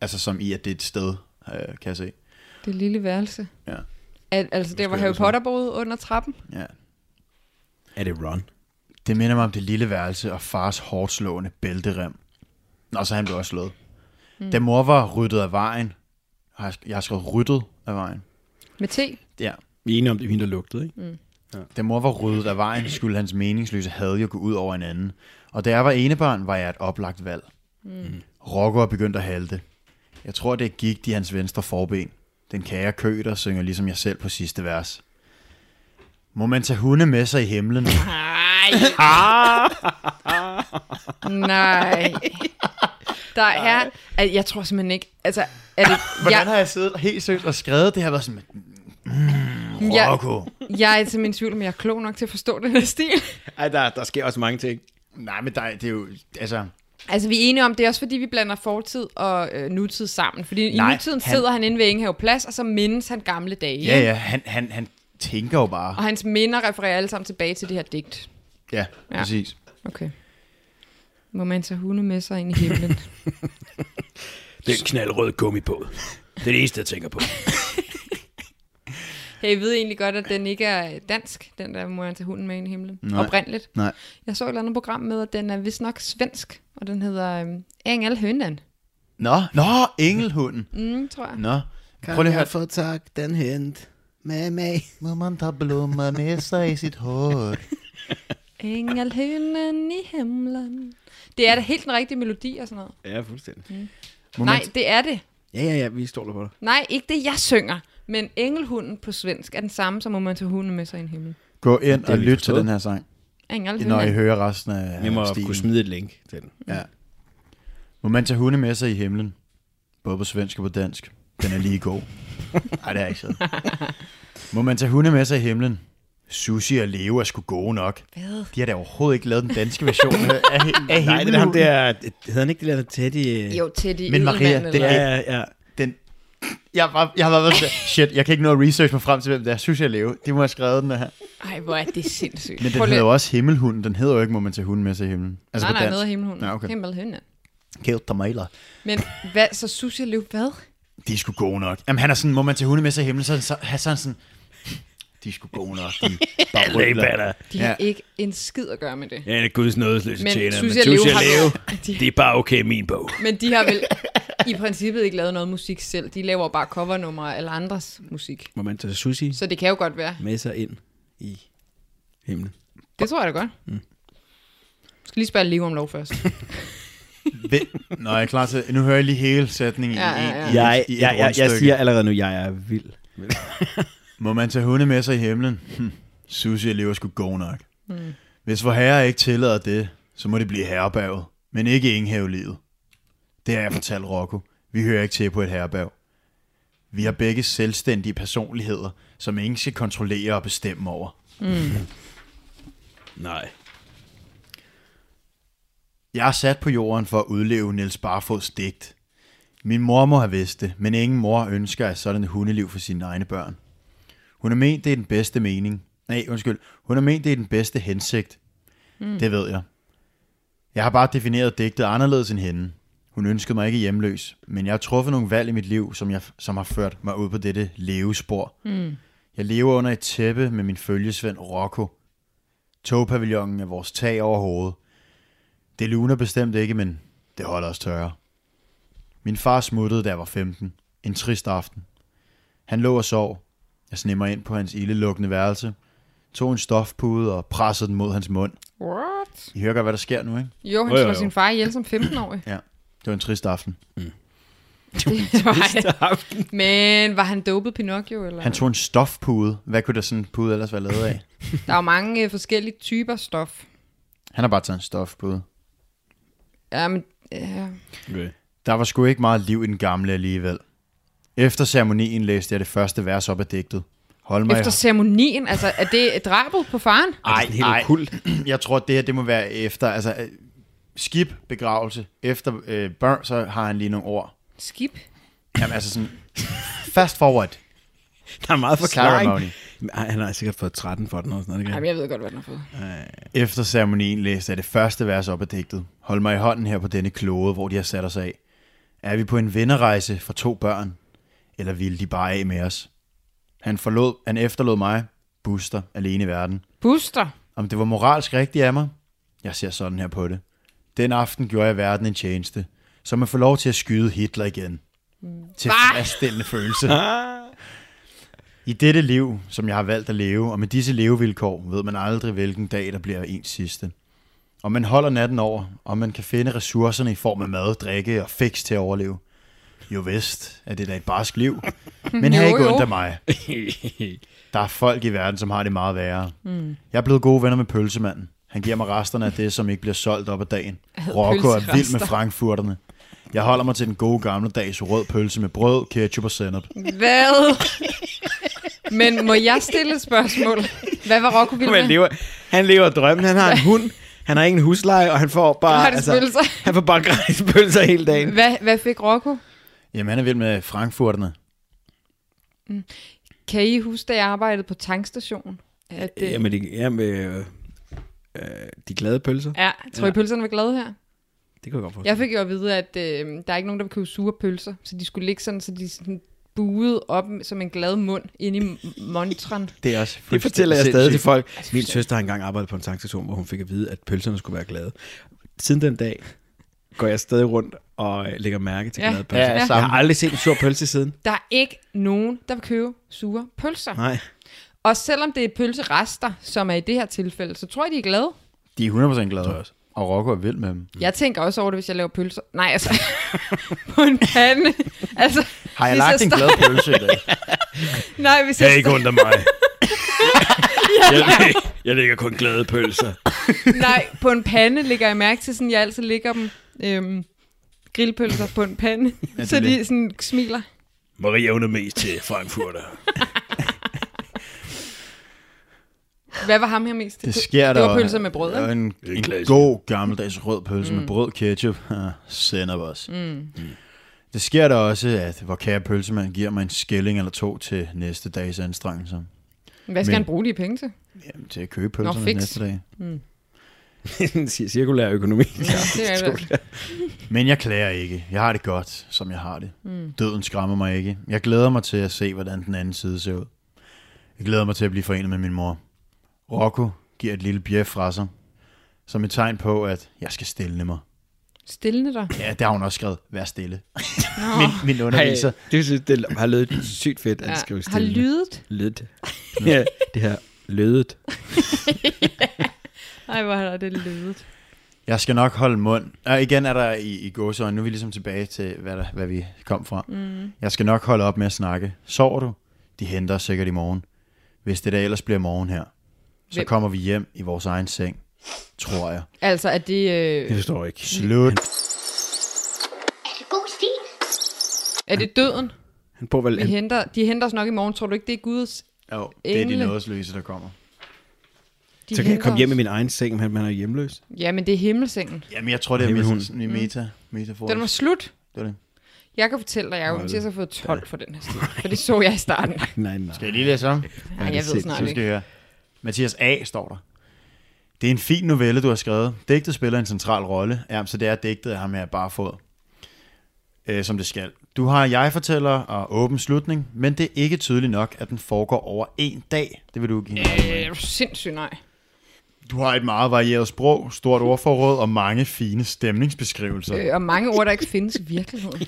altså som i, at det er et sted, øh, kan jeg se.
Det lille værelse.
Ja.
Al- altså der, hvor Harry Potter boede under trappen.
Ja.
Er det Ron?
Det minder mig om det lille værelse og fars hårdt slående bælterem. Nå, så han blev også slået. Mm. Da mor var ryddet af vejen, har jeg, sk- jeg har skrevet ryddet af vejen.
Med te.
Ja.
Vi er enige om, det er hende, der lugtede, ikke?
Da mor var ryddet af vejen, skulle hans meningsløse had jo gå ud over en anden. Og da jeg var enebarn, var jeg et oplagt valg. Mm. Rocco er begyndt at halte. Jeg tror, det er gigt i hans venstre forben. Den kære køder synger ligesom jeg selv på sidste vers. Må man tage hunde med sig i himlen?
Nej. Nej. Der er... Al- Jeg tror simpelthen ikke... Altså, er det...
Hvordan
Jeg,
har jeg siddet helt sødt og skrevet det her? Været sådan, mm,
Ja.
Rocco.
jeg er simpelthen i tvivl, om jeg er klog nok til at forstå den her stil.
Ej, der, der sker også mange ting.
Nej, men dig, det er jo... Altså,
Altså, vi er enige om, det er også fordi, vi blander fortid og øh, nutid sammen. Fordi
Nej,
i nutiden
han-
han... sidder han inde ved Ingehave Plads, og så mindes han gamle dage.
ja,
ikke?
ja, han, han, han tænker jo bare.
Og hans minder refererer alle sammen tilbage til det her digt.
Ja, ja.
Ja.
præcis.
Okay. Må man tage hunde med sig ind i himlen?
Det er en knaldrød gummi på. Det er det eneste, jeg tænker på.
Hey, jeg ved egentlig godt, at den ikke er dansk, den der må man tage hunden med ind i himlen.
Nej.
Nej. Oprindeligt.
Nej.
Jeg så et eller andet program med, at den er vist nok svensk, og den hedder øhm, Engel Hønan.
Nå, nå, engelhunden.
Mm, tror jeg.
Nå, prøv lige at høre.
få tak den hent med mig?
Må man tage blommer med sig i sit hår?
Engel Hønan i himlen. Det er da helt den rigtige melodi og sådan noget.
Ja, fuldstændig.
Må
Nej,
Man,
det er det.
Ja, ja, ja, vi stoler på dig.
Nej, ikke det, jeg synger. Men engelhunden på svensk er den samme, som må man tage hunden med sig ind i himlen.
gå ind
har
og
vi
lyt til
forstået.
den her sang,
Engel
når I
Hønan.
hører resten af
Vi må
stilen.
kunne smide et link til den.
Ja. Må man tage hunde med sig i himlen? Både på svensk og på dansk. Den er lige god. Nej, det er ikke sådan. Må man tage hunde med sig i himlen? Sushi og Leo er sgu gode nok.
Hvad?
De har da overhovedet ikke lavet den danske version af, af, af
Nej, det er ham der... øh, Hedder han ikke det der tæt i...
Jo, til de
Men Maria,
Edelmanden,
den
eller-
Ja, ja, ja.
Den, jeg, var, jeg har bare været sådan, shit, jeg kan ikke nå at research mig frem til, hvem det er. Sushi og Leo, de må have skrevet den her.
Ej, hvor er det sindssygt.
Men den
Prøv lige-
hedder jo også Himmelhunden. Den hedder jo ikke, må man tage hunden med sig i himlen. Altså
nej,
på
nej,
dansk.
noget af himmelhunden.
Nå, okay.
Himmelhunden.
Kæft tomater.
Men hvad, så synes jeg, Lev, hvad?
De er sgu gode nok. Jamen han er sådan, må man tage hunde med sig i himlen, så, så, så, så er han sådan, de er sgu gode nok. De bare rygler.
De har
Ja.
ikke en skid at gøre med det.
Ja, det er guds nådesløse
Men
tjener,
synes jeg, Leo
synes jeg,
har-
Leo,
De-
det er bare okay i min bog.
Men de har vel i princippet ikke lavet noget musik selv. De laver bare covernumre af alle andres musik.
Må man tage sushi
Så det kan jo godt være.
med sig ind i himlen?
Det tror jeg da godt. Mm. Skal lige spørge Leo om lov først.
Ved- Nå, jeg er klar til, nu hører jeg lige hele sætningen
Ja, ja,
i,
ja.
i,
Jeg,
i, i
jeg,
et
jeg, jeg
rundstykke.
siger allerede nu, jeg er vild.
Må man tage hunde med sig i himlen? Hm. Susie lever sgu god nok. Mm. Hvis vor herre ikke tillader det, så må det blive herrebaget, men ikke enghavelivet. Det har jeg fortalt Rocco. Vi hører ikke til på et herrebag. Vi har begge selvstændige personligheder, som ingen skal kontrollere og bestemme over.
Nej.
Jeg er sat på jorden for at udleve Niels Barfods digt. Min mor må have vidst det, men ingen mor ønsker et sådan hundeliv for sine egne børn. Hun har ment, det er den bedste mening. Nej, undskyld. Hun har ment, det er den bedste hensigt. Mm. Det ved jeg. Jeg har bare defineret digtet anderledes end hende. Hun ønskede mig ikke hjemløs, men jeg har truffet nogle valg i mit liv, som, jeg, som har ført mig ud på dette levespor. Mm. Jeg lever under et tæppe med min følgesvend Rocco. Togpavillonen er vores tag over hovedet. Det luner bestemt ikke, men det holder os tørre. Min far smuttede, da jeg var 15. En trist aften. Han lå og sov. Jeg snemmer ind på hans ildelukkende værelse, tog en stofpude og pressede den mod hans mund.
What?
I hører godt, hvad der sker nu, ikke?
Jo, han
Jo, jo,
slår
jo.
sin far ihjel som 15-årig.
Ja. Det var en trist aften.
Det var han. Men var han dopet Pinocchio? Eller?
Han tog en stofpude. Hvad kunne der sådan en pude ellers være lavet af?
Der er jo mange øh, forskellige typer stof.
Han har bare taget en stofpude.
Ja, men, øh, ja.
Okay.
Der var sgu ikke meget liv i den gamle alligevel. Efter ceremonien læste jeg det første vers op af digtet. Hold mig
Efter ceremonien, altså er det drabet på faren?
Ej, det er helt okult.
Jeg tror, det her det må være efter, altså øh, skib, begravelse, efter øh, børn, så har han lige nogle ord.
Skib?
Jamen altså sådan, fast forward.
Der er meget forklaring.
Ceremony.
Ej, han har sikkert fået 13 for den og sådan
Ja.
noget.
Jamen, jeg ved godt, hvad den har fået.
Efter ceremonien læste jeg det første vers op af digtet. Hold mig i hånden her på denne klode, hvor de har sat os af. Er vi på en vennerejse for to børn? Eller ville de bare af med os? Han, forlod, han efterlod mig, Buster, alene i verden.
Buster.
Om det var moralsk rigtigt af mig? Jeg ser sådan her på det. Den aften gjorde jeg verden en tjeneste, så man får lov til at skyde Hitler igen.
Mm.
Til faststillende følelse. I dette liv, som jeg har valgt at leve, og med disse levevilkår, ved man aldrig, hvilken dag, der bliver ens sidste. Og man holder natten over, og man kan finde ressourcerne i form af mad, drikke og fix til at overleve. Jo vist, at det er da et barsk liv. Men
Jo,
har ikke
jo.
ondt af mig. Der er folk i verden, som har det meget værre. Mm. Jeg er blevet gode venner med pølsemanden. Han giver mig resterne af det, som ikke bliver solgt op ad dagen. Rocco er vild med
pølserester.
frankfurterne. Jeg holder mig til den gode gamle dags rød pølse med brød, ketchup og sennep.
Hvad? Men må jeg stille et spørgsmål? Hvad var Rocco vild
Han
med?
lever, han lever drømmen. Han har en hund. Han har ingen husleje, og han får bare... altså,
Gratis pølser.
han får bare gratis pølser hele dagen.
Hvad, hvad fik Rocco?
Jamen, han er vild med frankfurterne.
Kan I huske, da jeg arbejdede på tankstationen? At,
Det.
øh,
Jamen, det, jamen øh, øh, de glade pølser.
ja, tror I, pølserne var glade her?
Det kunne jeg godt forstå.
Jeg fik jo at vide, at øh, der er ikke nogen, der vil købe sure pølser, så de skulle ligge sådan, så de sådan buede op som en glad mund ind i m- montren.
Det er også
Det fortæller jeg stadig til folk. Min
fuldstændig.
søster har engang arbejdet på en tankstation, hvor hun fik at vide, at pølserne skulle være glade. Siden den dag går jeg stadig rundt og øh, lægger mærke til
Ja.
glade pølser.
Ja,
jeg
samme.
har aldrig set en sur pølse siden.
Der er ikke nogen, der vil købe sure pølser.
Nej.
Og selvom det er pølserester, som er i det her tilfælde, så tror jeg, de er glade.
De er 100% glade. Også. Og Rocco er vild med dem.
Jeg tænker også over det, hvis jeg laver pølser. Nej, altså, på en pande. Altså,
Har jeg
hvis
lagt en
sta-
glad pølse i dag?
Nej, hvis jeg, sta-
ondt af mig.
Jeg lægger kun glade pølser.
nej, på en pande lægger jeg mærke til, sådan jeg altid ligger dem øhm, grillpølser på en pande, ja,
er
så de
det.
sådan smiler.
Maria under mest til Frankfurter.
Hvad var ham her mest til?
Det sker
Det
der.
var pølser med brød,
Og
ikke?
en,
er
en
klassisk.
god gammeldags rød pølse mm. med brød, ketchup, sender os. Mm. Det sker der også, at hvor kære pølsemand giver mig en skilling eller to til næste dags anstrengelser.
Hvad skal
Men-
han bruge de penge til?
Jamen, til at købe pølserne
fix.
næste dag. Mm.
En cir- Cirkulær økonomi.
Ja, det er det.
Men jeg klager ikke. Jeg har det godt, som jeg har det. Mm. Døden skræmmer mig ikke. Jeg glæder mig til at se, hvordan den anden side ser ud. Jeg glæder mig til at blive forenet med min mor. Rocco giver et lille bjef fra sig, som et tegn på, at jeg skal stille mig.
Stillende dig.
Ja, det har hun også skrevet. Vær stille.
Nå,
Min, min underviser.
Hey, det, synes, det har lydet sygt fedt, at
ja.
ja. skrive
har
stille.
lydet.
Lydet. Ja, det her lødet.
Ej, hvor er det lydet.
Jeg skal nok holde mund. Og igen er der i, i gåsøjne. Nu er vi ligesom tilbage til, hvad, der, hvad vi kom fra. Mm. Jeg skal nok holde op med at snakke. Sover du? De henter os sikkert i morgen. Hvis det da ellers bliver morgen her, så
Hvem?
kommer vi hjem i vores egen seng. Tror jeg.
Altså, er det, øh,
Det forstår jeg ikke.
Slut.
Er det god stil?
er det døden?
Han bor vel...
Vi
Han,
henter, de henter os nok i morgen. Tror du ikke, det er Guds?
Jo, det er de
Engle.
nådesløse, der kommer.
De
så kan jeg
henter
komme hjem
os.
i min egen seng, men han er hjemløs.
Ja, men det er himmelsengen.
Jamen, jeg tror, det er
Himmel,
meta,
hun.
sådan en meta, metafor.
Mm. Den var slut.
det var det.
Jeg kan fortælle dig, Jacob, at jeg har fået 12 for den her stil. For det så jeg i starten.
Nej, nej.
Skal jeg lige læse om?
Ej, jeg ved snart
Så skal
ikke.
jeg høre. Mathias A. står der. Det er en fin novelle, du har skrevet. Digtet spiller en central rolle. Ja, så det er digtet af ham her barefod. Øh, som det skal. Du har jeg-fortæller og åben slutning, men det er ikke tydeligt nok, at den foregår over en dag. Det vil du give mig.
Øh, er du sindssyg nej.
Du har et meget varieret sprog, stort ordforråd og mange fine stemningsbeskrivelser.
Øh, og mange ord, der ikke findes i virkeligheden.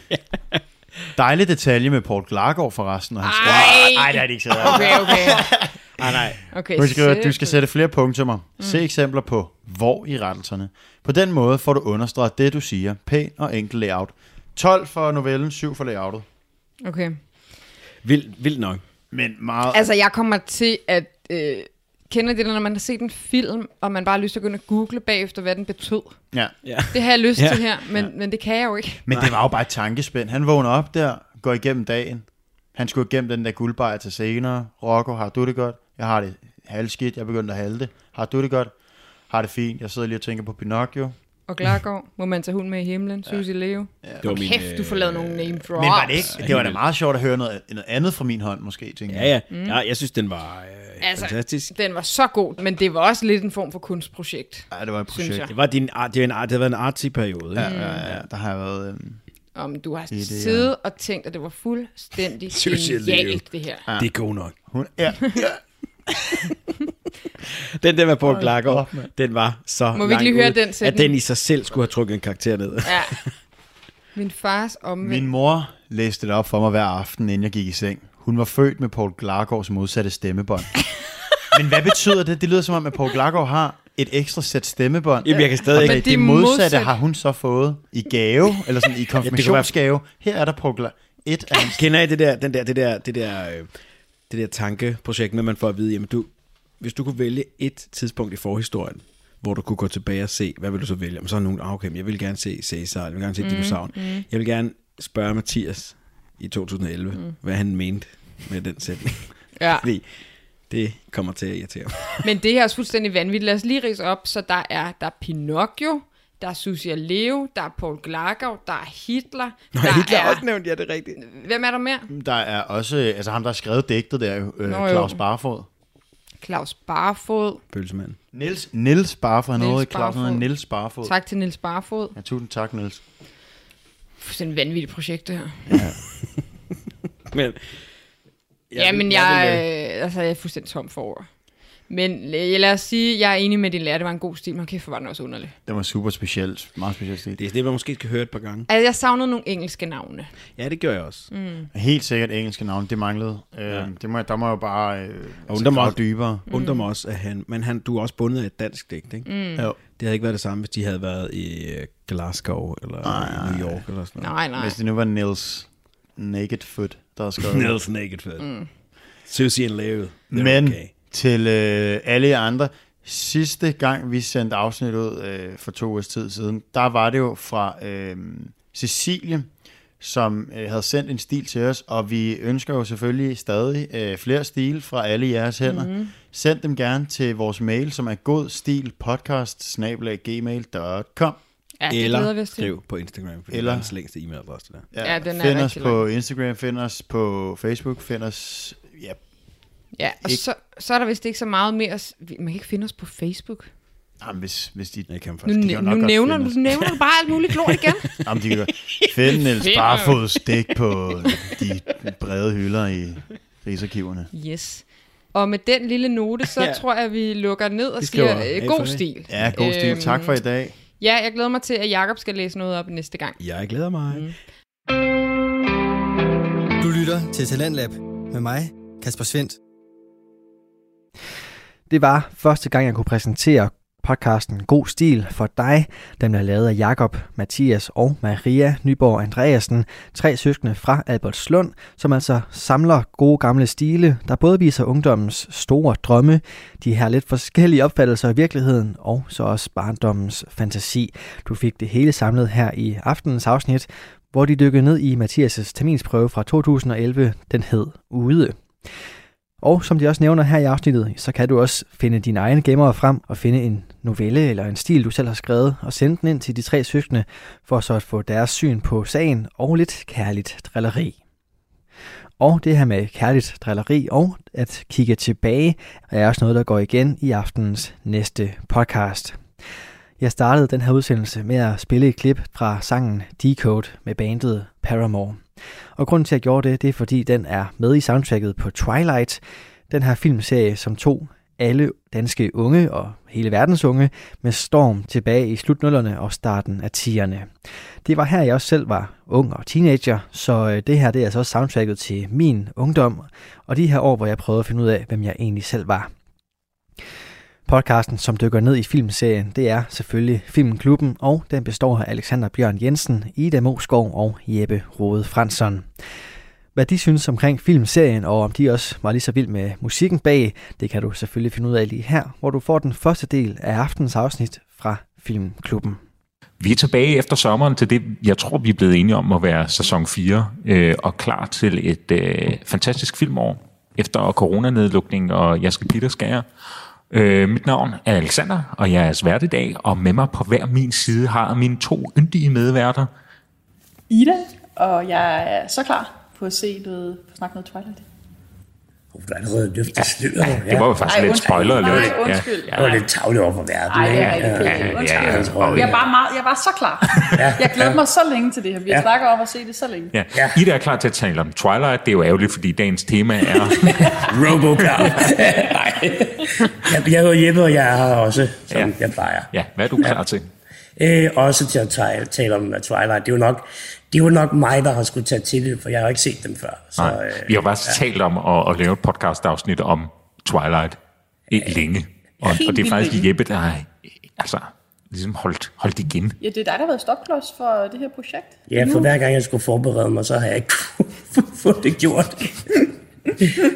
Dejlig detalje med Paul Glargaard forresten. Og hans
Ej!
Ej, det er det ikke så okay.
Okay, okay.
Nej, nej.
okay
Hun skriver, at du skal
sæt-
sætte flere punktummer. Mm. Se eksempler på hvor i rettelserne. På den måde får du understreget det, du siger. Pæn og enkel layout. 12 for novellen, 7 for layoutet.
Okay.
Vildt, vildt nok.
Men meget...
Altså, jeg kommer til at... Øh, kender I det, når man har set en film, og man bare har lyst til at gå ind og google bagefter, hvad den betød?
Ja.
Det har jeg lyst
Ja.
til her, men, ja. men det kan jeg jo ikke.
Men det var jo bare et tankespænd. Han vågner op der, går igennem dagen. Han skulle igennem den der guldbejer til senere. Rocco, har du det godt? Jeg har det halvskidt. Jeg begyndte at halde det. Har du det godt? Har det fint. Jeg sidder lige og tænker på Pinocchio.
Og Glargaard, må man tage hund med i himlen? Susie Leo. Ja.
Det var min, øh,
Kæft, du får lavet nogle name drops.
Men var det ikke? Det var da meget sjovt at høre noget, noget andet fra min hånd, måske, tænker
Ja,
jeg.
ja. Mm. ja jeg synes, den var øh,
Altså,
altså, fantastisk.
Den var så god, men det var også lidt en form for kunstprojekt.
Ja, det var et
Synes
projekt.
jeg.
Det var din art, det, var en art, det havde været en artig periode.
Ja,
Ja.
ja, ja. Der har jeg været... Øhm,
Om du har
ja.
siddet og tænkt, at det var fuldstændig
Susie Leo.
genialt, det her.
Det er god nok.
Hun er...
Den der med Paul
op,
Glargaard,
mand.
den var så
Må vi ikke
langt
lige høre
ude,
den
At
sætning?
den i sig selv skulle have trykket en karakter ned.
Ja. Min fars omvendt.
Min mor læste det op for mig hver aften, inden jeg gik i seng. Hun var født med Paul Glargaards modsatte stemmebånd. Men hvad betyder det? Det lyder som om, at Paul Glargaard har et ekstra sæt stemmebånd.
Jamen, jeg kan stadig
Men
ikke...
Men
det,
det er
det modsatte
modsat.
har hun så fået i gave, eller sådan i konfirmationsgave. Her er der Paul Gla- et af hans...
Kender I det der, den der, det der, det der, øh, det der tankeprojekt med, at man får at vide, jamen du, hvis du kunne vælge et tidspunkt i forhistorien, hvor du kunne gå tilbage og se, hvad vil du så vælge? Om så er nogen, ah, okay, men jeg vil gerne se Cæsar, jeg vil gerne se mm, dinosauren. Mm. Jeg vil gerne spørge Mathias i 2011, mm. Ah. hvad han mente med den sætning.
Ja.
Fordi det kommer til at irritere mig.
Men det her er også fuldstændig vanvittigt. Lad os lige rise op, så der er, der er Pinocchio, der er Susie og Leo, der er Paul Glargaard, der er Hitler, Nå, der
Hitler
er...
også nævnt, Ah, ja, det er rigtigt.
Hvem er der mere?
Der er også øh, altså ham, der har skrevet digtet der, øh,
Nå, jo.
Claus Barfod.
Claus Barfod.
Pølsemand.
Niels, Niels Barfod, han
Niels
hedder ikke Claus, han hedder
Barfod.
Niels Barfod.
Tak til Nils Barfod.
Ja, tusind tak, Niels.
Fuldstændig vanvittigt projekt, det her.
Men,
Jeg ja, men jeg, jeg, altså, jeg er fuldstændig tom for ord. Men øh, lad os sige, jeg er enig med din lærer, det var en god stil, men kæft, hvor var den også underlig.
Det var super specielt. Meget specielt stil.
det er det, man måske skal høre et par gange.
Altså, jeg savnede nogle engelske navne.
Ja, det gør jeg også. Mm.
Helt sikkert engelske navn, det manglede. Ja. Øh, det må, jeg- der må jeg jo bare øh, altså,
der må-
grave dybere.
Undrer
Mm.
mig også, at han... Men han, du er også bundet af et dansk digt, ikke? Mm.
Jo.
Det havde ikke været det samme, hvis de havde været i øh, Glasgow eller nej, New York eller sådan noget.
Nej, nej.
Hvis det nu var Nils Nakedfoot, der har skrevet det.
Nils Naked Fed. Mm. Susie and Leo. they're
Men
Okay.
til øh, alle jer andre, sidste gang vi sendte afsnit ud øh, for to års tid siden, der var det jo fra øh, Cecilie, som øh, havde sendt en stil til os, og vi ønsker jo selvfølgelig stadig øh, flere stil fra alle jeres hænder.
Mhm.
Mm-hmm. Send dem gerne til vores mail, som er godstilpodcast-gmail.com.
ja, det glæder vi
eller
os til.
skriv på Instagram, for
Eller-
eller... det er længste e-mailadresse, det der.
Ja, den er
find os
rigtig
på Instagram, find os på Facebook, find os... Ja,
Ja, og
Ikke-
så, så er der vist ikke så meget mere. at s- vi- Man kan ikke finde os på Facebook.
Jamen, hvis, hvis de...
Jeg kan ham
Nu,
først.
de kan
nu,
nok godt
nævner,
finde
du,
os.
nu nævner du bare alt muligt lort igen.
Jamen, de kan finde Niels
Fedt.
Barfods dæk på de brede hylder i Rigsarkiverne.
Yes. Og med den lille note, så
Ja.
ja. tror jeg, vi lukker ned og
Vi skriver
siger
af
øh,
for
god
det.
stil.
Ja, god stil. Øhm, tak for i dag.
Ja, jeg glæder mig til, at Jakob skal læse noget op næste gang.
Jeg glæder mig. Mm.
Du lytter til Talentlab med mig, Kasper Svendt. Det var første gang, jeg kunne præsentere podcasten God Stil for dig. Den er lavet af Jakob, Mathias og Maria Nyborg Andreasen, tre søskende fra Albertslund, som altså samler gode gamle stile, der både viser ungdommens store drømme, de her lidt forskellige opfattelser af virkeligheden, og så også barndommens fantasi. Du fik det hele samlet her i aftenens afsnit, hvor de dykkede ned i Mathias' terminsprøve fra 2011. Den hed Ude. Og som de også nævner her i afsnittet, så kan du også finde dine egne gemmere frem og finde en novelle eller en stil, du selv har skrevet, og sende den ind til de tre søskende, for så at få deres syn på sagen og lidt kærligt drilleri. Og det her med kærligt drilleri og at kigge tilbage, er også noget, der går igen i aftenens næste podcast. Jeg startede den her udsendelse med at spille et klip fra sangen Decode med bandet Paramore. Og grunden til, at jeg gjorde det, det er fordi den er med i soundtracket på Twilight, den her filmserie, som tog alle danske unge og hele verdens unge med storm tilbage i slutnullerne og starten af 10'erne. Det var her, jeg også selv var ung og teenager, så øh, det her det er altså også soundtracket til min ungdom, og de her år, hvor jeg prøvede at finde ud af, hvem jeg egentlig selv var. Podcasten, som dykker ned i filmserien, det er selvfølgelig Filmklubben, og den består af Alexander Bjørn Jensen, Ida Moskov og Jeppe Rode Fransson. Hvad de synes omkring filmserien, og om de også var lige så vild med musikken bag, det kan du selvfølgelig finde ud af lige her, hvor du får den første del af aftens afsnit fra Filmklubben.
Vi er tilbage efter sommeren til det, jeg tror, vi er blevet enige om at være sæson 4, øh, og klar til et øh, fantastisk filmår efter coronanedlukning, og jeg skal give dig skære. Øh, mit navn er Alexander, og jeg er svært i dag, og med mig på hver min side har mine to yndige medværter.
Ida, og jeg er så klar på at se noget, på at snakke noget Twilight.
Uh, du har allerede løftet sløret. Ja,
Det var jo faktisk
Ej,
lidt
undskyld.
spoiler.
Nej,
lidt.
undskyld.
Ja,
det var lidt tavle over for verden.
Ej, det er
ikke?
rigtig
Ja,
kedeligt.
ja,
Undskyld.
jeg tror,
Jeg var, meget, jeg var så klar. Jeg glæder mig så længe til det her. Vi har
Ja.
snakket om at se det så længe.
ja, ja. Ida er klar til at tale om Twilight. Det er jo ærgerligt, fordi dagens tema er...
Robocop. Nej. Jeg, jeg hedder Jeppe, og jeg er her også, som
Ja.
ja. jeg plejer.
Ja, hvad er du klar til?
Øh, også til at tale, tale om uh, Twilight. Det er, jo nok, det er jo nok mig, der har skulle tage til det, for jeg har jo ikke set dem før. Så, øh,
Nej, vi har bare ja. talt om at, at lave et podcast-afsnit om Twilight i længe. Og,
Helt
og det er
vildt
faktisk
længe.
Jeppe, der har altså, ligesom holdt, holdt igen.
Ja, det er dig, der har været stopklods for det her projekt.
ja, for hver gang jeg skulle forberede mig, så har jeg ikke fået det gjort.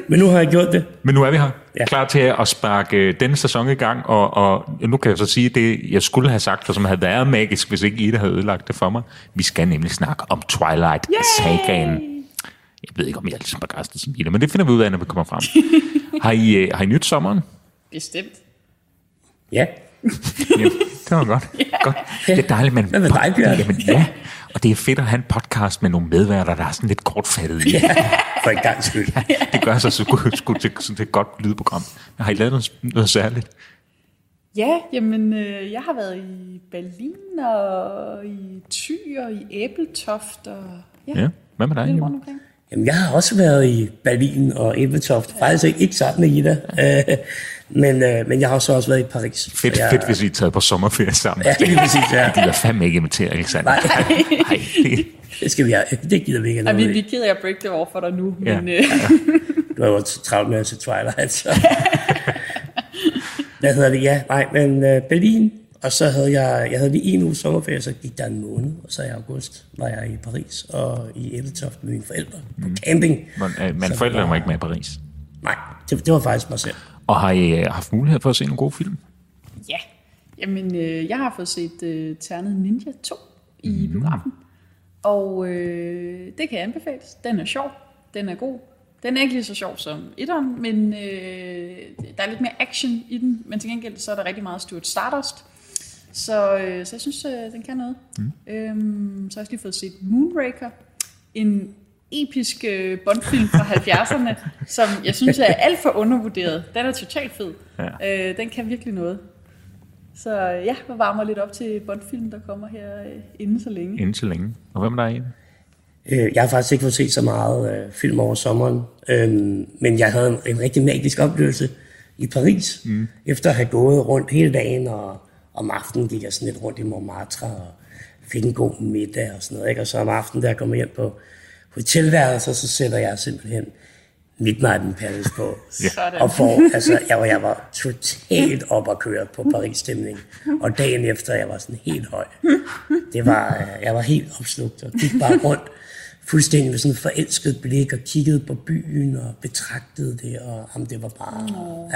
Men nu har jeg gjort det.
Men nu er vi her, ja.
Ja.
klar til at sparke øh, denne sæson i gang, og, og nu kan jeg så sige det, jeg skulle have sagt, og som havde været magisk, hvis ikke Ida havde ødelagt det for mig. Vi skal nemlig snakke om Twilight-sagaen. Jeg ved ikke, om jeg er lige så begejstret som Ida, men det finder vi ud af, når vi kommer frem. har, I, øh, har I nyt sommeren?
Bestemt.
Ja,
Ja, det var godt. godt. Det er dejligt, man...
Hvad med dig, Bjørn?
Jamen, ja, og det er fedt at have en podcast med nogle medværter, der er sådan lidt kortfattet i. Ja.
for en gang skyld.
Det gør sig så godt sgu til sådan et godt lydprogram. Har I lavet noget, noget særligt?
Ja, jamen, øh, jeg har været i Berlin og i Thy og i Æbeltoft og... Ja,
Ja. Hvad med dig,
lidt rundt
Jeppe?
omkring.
Jamen, jeg har også været i Berlin og Ebeltoft. Faktisk ikke, ikke sammen med Ida. Øh, men, øh, men jeg har så også været i Paris.
Fedt,
jeg,
fedt, hvis I er taget på sommerferie sammen.
Ja, lige præcis, ja.
Det er fandme ikke inviteret, Alexander.
Nej.
Nej, det,
Det, skal vi have. det gider vi ikke.
Ej,
have
vi,
noget
vi
af.
er ked af at break det over for dig nu,
Ja.
men øh,
Du har jo også travlt med at se Twilight. Så. Hvad hedder det? Ja, nej, men øh, Berlin. Og så havde jeg, jeg havde lige en uge sommerferie, så gik der en måned. Og så i august var jeg i Paris og i Ebeltoft med mine forældre på
Mm.
camping.
man, øh, man
Så
forældrene
det
var
var-
ikke med i Paris.
Nej, det, det var faktisk mig selv.
Og har I øh, haft mulighed for at se nogle gode film?
ja. Jamen, øh, jeg har fået set øh, Ternet Ninja 2 i
Mhm.
biografen. Og øh, det kan anbefales. Den er sjov. Den er god. Den er ikke lige så sjov som etteren, men øh, der er lidt mere action i den. Men til gengæld så er der rigtig meget Stuart Stardust. Så, øh, så jeg synes, øh, den kan noget. Mm. Øhm, så har jeg også lige fået set Moonraker. En episk øh, Bond-film fra 70'erne, som jeg synes er alt for undervurderet. Den er totalt fed.
Ja.
Øh, den kan virkelig noget. Så ja, jeg varmer lidt op til Bondfilm, der kommer her øh, inden så længe.
Indtil længe. Og hvem der er en?
Øh, Jeg har faktisk ikke fået set så meget øh, film over sommeren, øhm, men jeg havde en, en rigtig magisk oplevelse i Paris, mm. efter at have gået rundt hele dagen, og om aftenen gik jeg sådan lidt rundt i Montmartre og fik en god middag og sådan noget. Ikke? Og så om aftenen, da jeg kommer hjem på hotelværelset, så sætter jeg simpelthen Midnight in Paris på.
Sådan.
Og får, altså, jeg var, jeg var totalt op at køre på Paris-stemning. Og dagen efter, jeg var sådan helt høj. Det var, øh, jeg var helt opslugt og gik bare rundt fuldstændig med sådan et forelsket blik og kiggede på byen og betragtede det, og jamen, det var bare...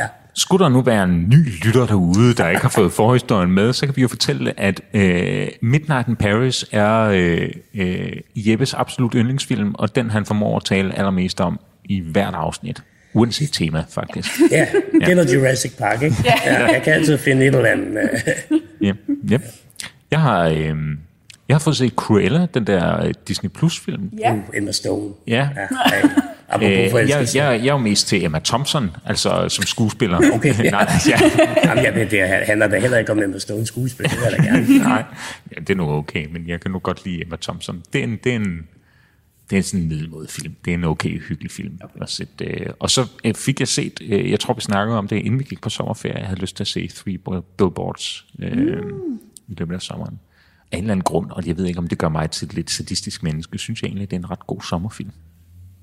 Ja.
Skulle der nu være en ny lytter derude, der ikke har fået forhistorien med, så kan vi jo fortælle, at øh, Midnight in Paris er øh, øh, Jeppes absolut yndlingsfilm, og den han formår at tale allermest om i hvert afsnit. Uanset tema, faktisk.
Ja, det er noget Jurassic Park, ikke? Ja, jeg kan altid finde et eller andet. øh,
Ja, ja. Jeg har, øh, jeg har fået set Cruella, den der øh, Disney Plus-film.
Ja,
Emma Stone.
Ja.
Ja, ej. Apropos
Øh, jeg,
forelskelse.
jeg, jeg er jo mest til Emma Thompson, altså som skuespiller.
Okay, ja.
Nej, ja.
Jamen, jeg ved, det handler da heller ikke om Emma Stone skuespil, det vil jeg da gerne.
Nej, ja, det er nu okay, men jeg kan nu godt lide Emma Thompson. Det er en, det er en, det er sådan en middelmåde film. Det er en okay, hyggelig film. Okay. At sætte, øh, og så øh, fik jeg set, øh, jeg tror vi snakkede om det, inden vi gik på sommerferie, jeg havde lyst til at se Three Bill- Billboards øh, mm. i løbet af sommeren. Af en eller anden grund, og jeg ved ikke, om det gør mig til et lidt sadistisk menneske, synes jeg egentlig, det er en ret god sommerfilm.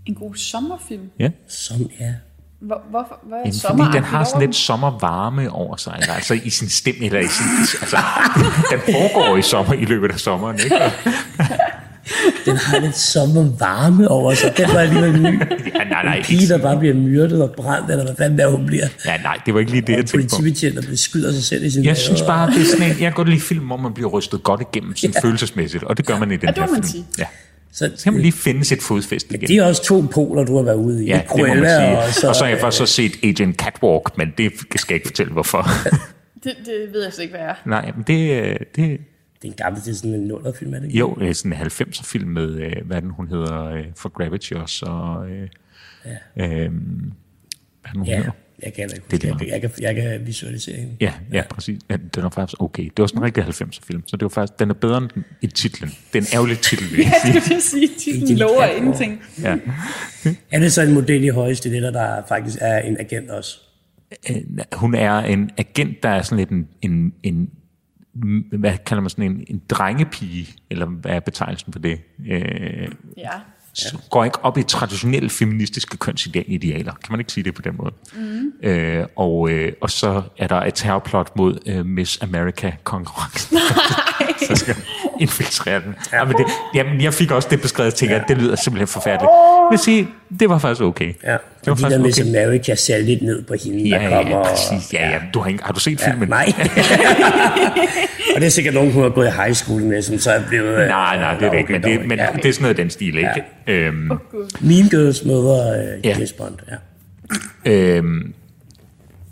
en god sommerfilm.
Ja.
Som, ja.
Hvor, hvorfor, hvad er
Jamen,
sommer?
fordi den har sådan lidt sommervarme over sig, eller, altså i sin stemme, eller i sin, altså, den foregår i sommer, i løbet af sommeren, ikke? Og,
Den har lidt sommervarme over sig. Den var alligevel ny.
ja, nej, nej,
En
ikke
pige, der bare bliver myrdet og brændt, eller hvad fanden der hun bliver.
Ja, nej, det var ikke lige det, jeg
En
tænkte på.
politibetjent, der beskyder sig selv i sin
Jeg synes bare, det er sådan en, jeg kan godt lide film, hvor man bliver rystet godt igennem sådan ja. følelsesmæssigt, og det gør man i den
Ja, det
her
må man
film.
sige.
Ja. Så
Så,
kan man lige finde sit fodfæste igen.
det er også to poler, du har været ude i.
ja, det må man
Cruella
sige. Og så, og så har jeg
øh,
faktisk også set Agent Catwalk, men det skal jeg ikke fortælle, hvorfor.
Det, det ved jeg slet ikke, hvad er.
nej, men det, øh, det
Det er en gammel, det er sådan en nullerfilm, er det ikke?
jo øh, sådan en 90'er film med, øh, hvad er den hun hedder, øh, for Gravity også, og øh, ja. øh, hvad er den, hun
Ja,
hedder?
jeg kan heller ikke
Det er
huske.
lige
Jeg, kan-
meget.
jeg, kan, jeg kan visualisere hende.
Ja, ja, præcis. Men Den var faktisk okay. Det var sådan en rigtig 90'er film, så det var faktisk, den er bedre end den- i titlen. Det er en ærgerlig titel, vil jeg
Ja,
sige.
det vil sige, titlen lover ingenting.
Ja.
Er det så en model i højeste letter, der faktisk er en agent også?
en- Øh, hun er en agent, der er sådan lidt en, en, en hvad kalder man sådan en, en drengepige, eller hvad er betegnelsen for det? Øh,
Ja.
ja. Går ikke op i traditionelle feministiske kønsidealer, kan man ikke sige det på den måde. Mm. Øh, og, øh, og så er der et terrorplot mod øh, Miss America-konkurrencen. så skal man infiltrere den. Ja. Jamen, det, jamen, jeg fik også det beskrevet, tænker, at det lyder simpelthen forfærdeligt. Men sige, det var faktisk okay.
Ja.
det var
Fordi der Miss
faktisk okay.
America ser lidt ned på hende,
Ja,
der
ja,
kommer...
ja, præcis. Ja, ja. Du har, ikke, har du set filmen?
Nej. og det er sikkert nogen, hun har gået i high school med, som så er blevet... øh,
Nej, nej, det er det ikke, men,
dog
det, men
Ja.
det er sådan noget i den stil, ikke? Ja. Øhm,
Mean Girls møder øh,
Ja.
James Bond, ja.
øhm,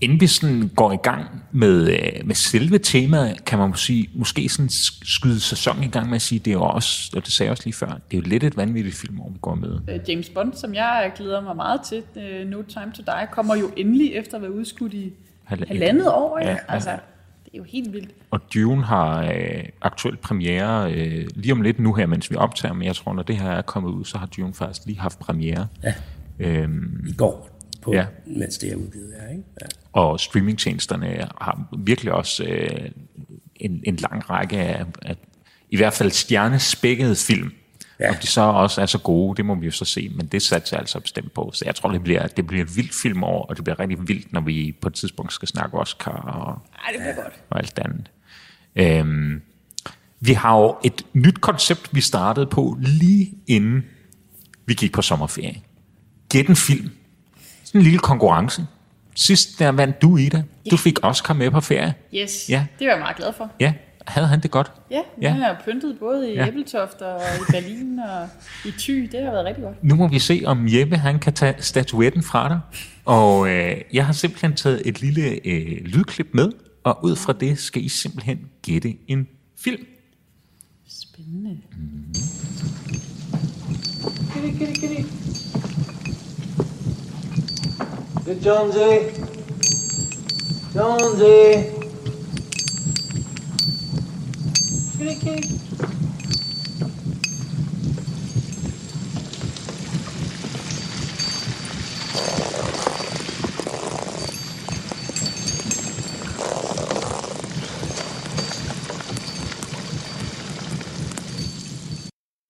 inden vi sådan går i gang med, øh, med selve temaet, kan man måske, måske sådan sk- skyde sæsonen i gang med at sige, det er jo også, og det sagde jeg også lige før, det er jo lidt et vanvittigt filmår, vi går med.
Øh, James Bond, som jeg glæder mig meget til, øh, No Time To Die, kommer jo endelig efter at være udskudt i
Halv-
halvandet år.
Ja,
Ja,
ja.
altså, det er jo helt vildt.
Og Dune har øh, aktuelt premiere øh, lige om lidt nu her, mens vi optager, men jeg tror, når det her er kommet ud, så har Dune faktisk lige haft premiere. Ja. Øhm,
I går, på,
Ja.
ja. mens det er udgivet her, ikke? Ja.
Og streamingtjenesterne har virkelig også øh, en, en lang række af, af i hvert fald stjernespækkede film. Ja.
Ja.
Om de så også er så gode, det må vi jo så se, men det satser jeg altså bestemt på. Så jeg tror, det bliver, det bliver et vildt filmår, og det bliver rigtig vildt, når vi på et tidspunkt skal snakke Oscar og,
Ej, det bliver ja. godt.
og alt det andet. Øhm, vi har jo et nyt koncept, vi startede på lige inden vi gik på sommerferie. Gæt en film. Sådan en lille konkurrence. Sidst der vandt du, Ida. Du fik Oscar med på ferie.
Yes,
Ja.
ja. det var jeg meget glad for.
Ja, havde han det godt?
Ja, nu
Ja.
ja. har jeg pyntet både i
Ja.
ja. Æbletoft og i Berlin og i Thy. Det har været rigtig godt.
Nu må vi se, om Jeppe han kan tage statuetten fra dig. Og øh, jeg har simpelthen taget et lille øh, lydklip med, og ud fra det skal I simpelthen gætte en film.
Spændende.
Jonesy! Jonesy!
Skal vi ikke kigge?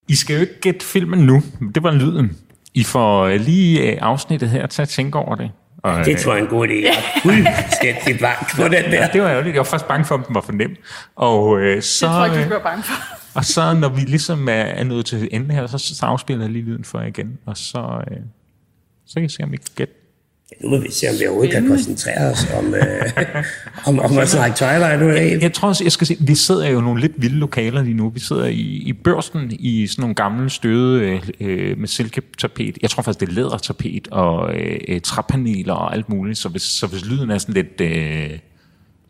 I skal jo ikke gætte filmen nu. Det var lyden. I får øh, lige øh, afsnittet her til at tænke over det. Og, øh,
Det tror jeg er en god idé. Jeg er fuldstændig blank på den der.
ja, det var ærgerligt. Jeg var faktisk bange for, at den var for nem. Og, øh, så,
Det tror jeg ikke,
øh,
du skal være bange for.
Og så når vi ligesom er, er nået til enden her, så, så afspiller jeg lige lyden for jer igen, og så, øh, så kan jeg se, om I kan gætte.
Nu må vi se, om vi overhovedet kan koncentrere os om, øh, om, om at snakke Twilight nu af.
Jeg tror også, jeg skal sige, vi sidder jo i nogle lidt vilde lokaler lige nu. Vi sidder i, i børsten i sådan nogle gamle støde øh, øh, med silketapet. Jeg tror faktisk, det er lædertapet og øh, øh, træpaneler og alt muligt. Så hvis, så hvis lyden er sådan lidt... Øh,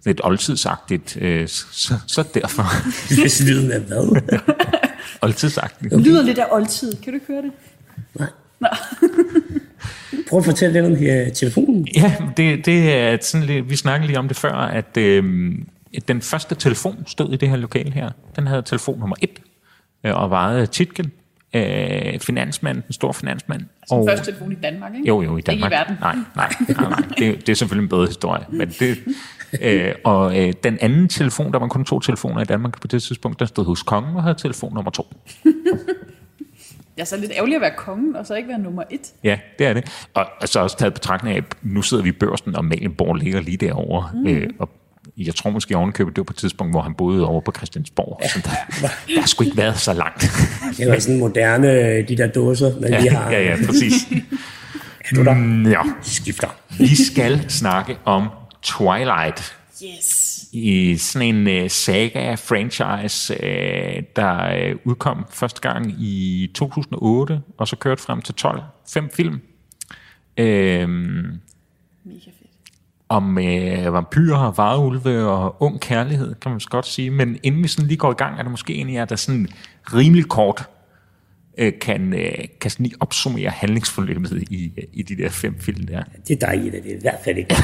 lidt oldtidsagtigt, øh, så, så derfor
Hvis lyden er hvad?
oldtidsagtigt.
Det lyder lidt af oldtid. Kan du ikke høre det?
Prøv at fortælle lidt om øh, telefonen.
Ja, det, det er sådan lidt, vi snakkede lige om det før, at øh, den første telefon stod i det her lokale her. Den havde telefon nummer et, øh, og vejede Titken, øh, finansmand, den store finansmand.
Den
og,
første telefon i Danmark, ikke?
jo, jo, i Danmark.
Ikke i verden.
Nej, nej, nej, nej. Det, det er selvfølgelig en bedre historie. Men det, øh, og øh, den anden telefon, der var kun to telefoner i Danmark på det tidspunkt, der stod hos kongen og havde telefon nummer to.
Jeg er så lidt ærgerlig at være kongen, og så ikke være nummer et.
Ja, det er det. Og, og så også taget betragtning af, at nu sidder vi i børsen, og Malenborg ligger lige derovre. Mm. Øh, og jeg tror måske ovenkøbet, det var på et tidspunkt, hvor han boede over på Christiansborg. Ja. Så der, der skulle ikke været så langt.
Det var sådan moderne, øh, de der dåser, man lige har.
ja, ja, præcis. Mm,
Er du der?
Ja,
Skifter.
vi skal snakke om Twilight.
Yes.
i sådan en øh, saga-franchise, øh, der øh, udkom første gang i 2008, og så kørte frem til 12. Fem film. Øh,
Mega fedt.
om øh, vampyrer, varulve og ung kærlighed, kan man så godt sige. Men inden vi sådan lige går i gang, er der måske en af jer, der sådan rimelig kort øh, kan, øh, kan sådan lige opsummere handlingsforløbet i, øh, i de der fem film der.
Det er dig, Ida. Det er i hvert fald ikke.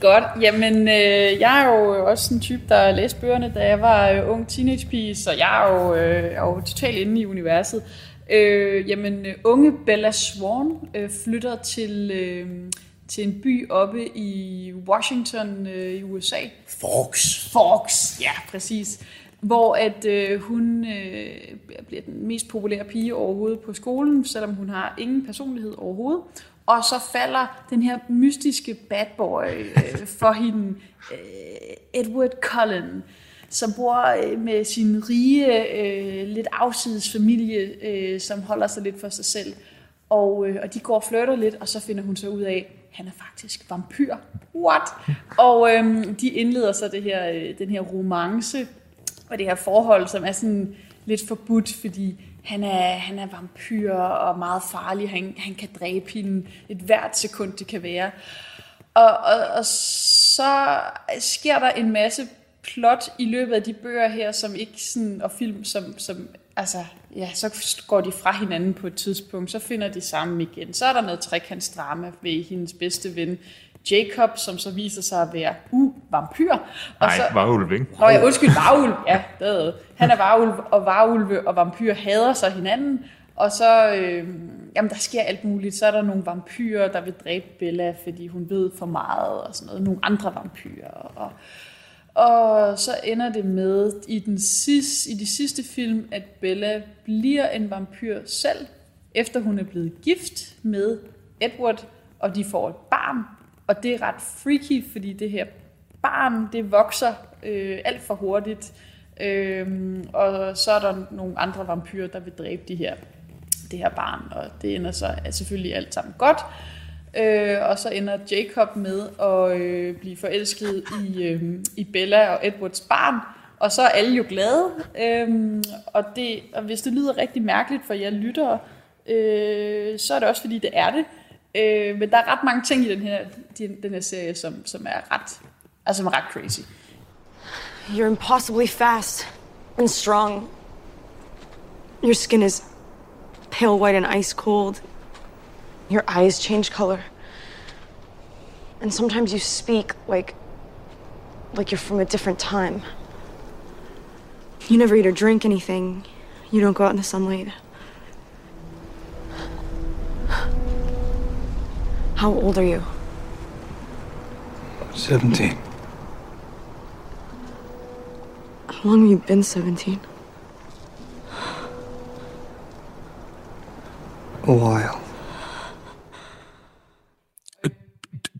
Godt. Jamen, øh, jeg er jo også en type, der læste bøgerne, da jeg var øh, ung teenagepige, så jeg er jo, øh, er jo totalt inde i universet. Øh, jamen, øh, unge Bella Swan øh, flytter til, øh, til en by oppe i Washington øh, i USA.
Forks.
Fox, ja, præcis. Hvor at øh, hun øh, bliver den mest populære pige overhovedet på skolen, selvom hun har ingen personlighed overhovedet. Og så falder den her mystiske bad boy øh, for hende, øh, Edward Cullen, som bor øh, med sin rige, øh, lidt afsides familie, øh, som holder sig lidt for sig selv. Og, øh, og de går og flytter lidt, og så finder hun så ud af, han er faktisk vampyr. What? Og øhm, de indleder så det her, øh, den her romance og det her forhold, som er sådan lidt forbudt, fordi han er, han er vampyr og meget farlig. Han, han kan dræbe hende et hvert sekund, det kan være. Og, og, og så sker der en masse plot i løbet af de bøger her, som ikke sådan, og film, som, som altså, ja, så går de fra hinanden på et tidspunkt, så finder de sammen igen. Så er der noget trekantsdrama ved hendes bedste ven, Jacob, som så viser sig at være u-vampyr. Og
Nej,
så,
varulve, ikke?
Nå ja, undskyld, varulv. Ja, det er det. Han er varulv, og varulve og vampyr hader sig hinanden. Og så, øh, jamen der sker alt muligt. Så er der nogle vampyrer, der vil dræbe Bella, fordi hun ved for meget og sådan noget. Nogle andre vampyrer. Og, og så ender det med, i, den sidste, i de sidste film, at Bella bliver en vampyr selv, efter hun er blevet gift med Edward, og de får et barn. Og det er ret freaky, fordi det her barn, det vokser øh, alt for hurtigt. Øhm, og så er der nogle andre vampyrer, der vil dræbe de her, det her barn, og det ender så selvfølgelig alt sammen godt. Øh, og så ender Jacob med at øh, blive forelsket i, øh, i Bella og Edwards barn, og så er alle jo glade. Øhm, og, det, og hvis det lyder rigtig mærkeligt for jer lyttere, øh, så er det også fordi, det er det. Øh, men der er ret mange ting i den her, den, den her serie, som, som er ret, altså, som er ret crazy.
You're impossibly fast and strong. Your skin is pale white and ice cold. Your eyes change color. And sometimes you speak like like you're from a different time. You never eat or drink anything. You don't go out in the sunlight. How old are you?
17.
How long have you been 17?
A while.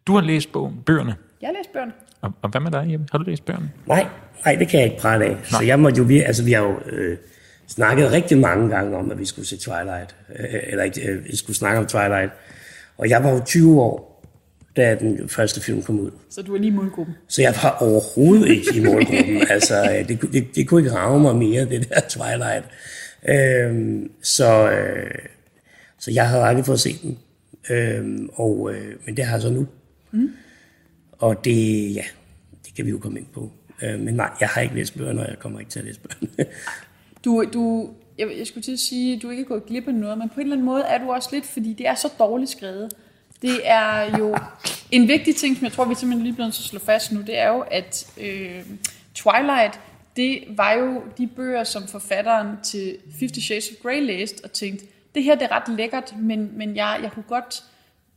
Du har læst bogen, bøgerne.
Jeg læste børn.
Og, og hvad med dig, Jeppe? Har du læst bøgerne?
Nej, nej, det kan jeg ikke prale af. Så jeg måtte jo, vi, altså vi har jo øh, snakket rigtig mange gange om, at vi skulle se Twilight, øh, eller ikke, øh, vi skulle snakke om Twilight. Og jeg var jo 20 år, da den første film kom ud.
Så du er lige i målgruppen.
Så jeg var overhovedet ikke i målgruppen. altså, øh, det, kunne- det, det kunne ikke rave mig mere, det der Twilight. Øhm, så, øh, så jeg havde aldrig fået set den. Øhm, og, øh, men det har jeg så nu. Mm. Og det, ja, det kan vi jo komme ind på. Øh, men nej, jeg har ikke læst bøgerne, og jeg kommer ikke til at læse bøgerne.
Du, du, jeg, jeg skulle til at sige, at du ikke er gået glip af noget, men på en eller anden måde er du også lidt, fordi det er så dårligt skrevet. Det er jo en vigtig ting, som jeg tror, vi simpelthen lige er blevet nødt til at slå fast nu, det er jo, at øh, Twilight, det var jo de bøger, som forfatteren til Fifty Shades of Grey læste og tænkte, det her det er ret lækkert, men, men jeg, jeg kunne godt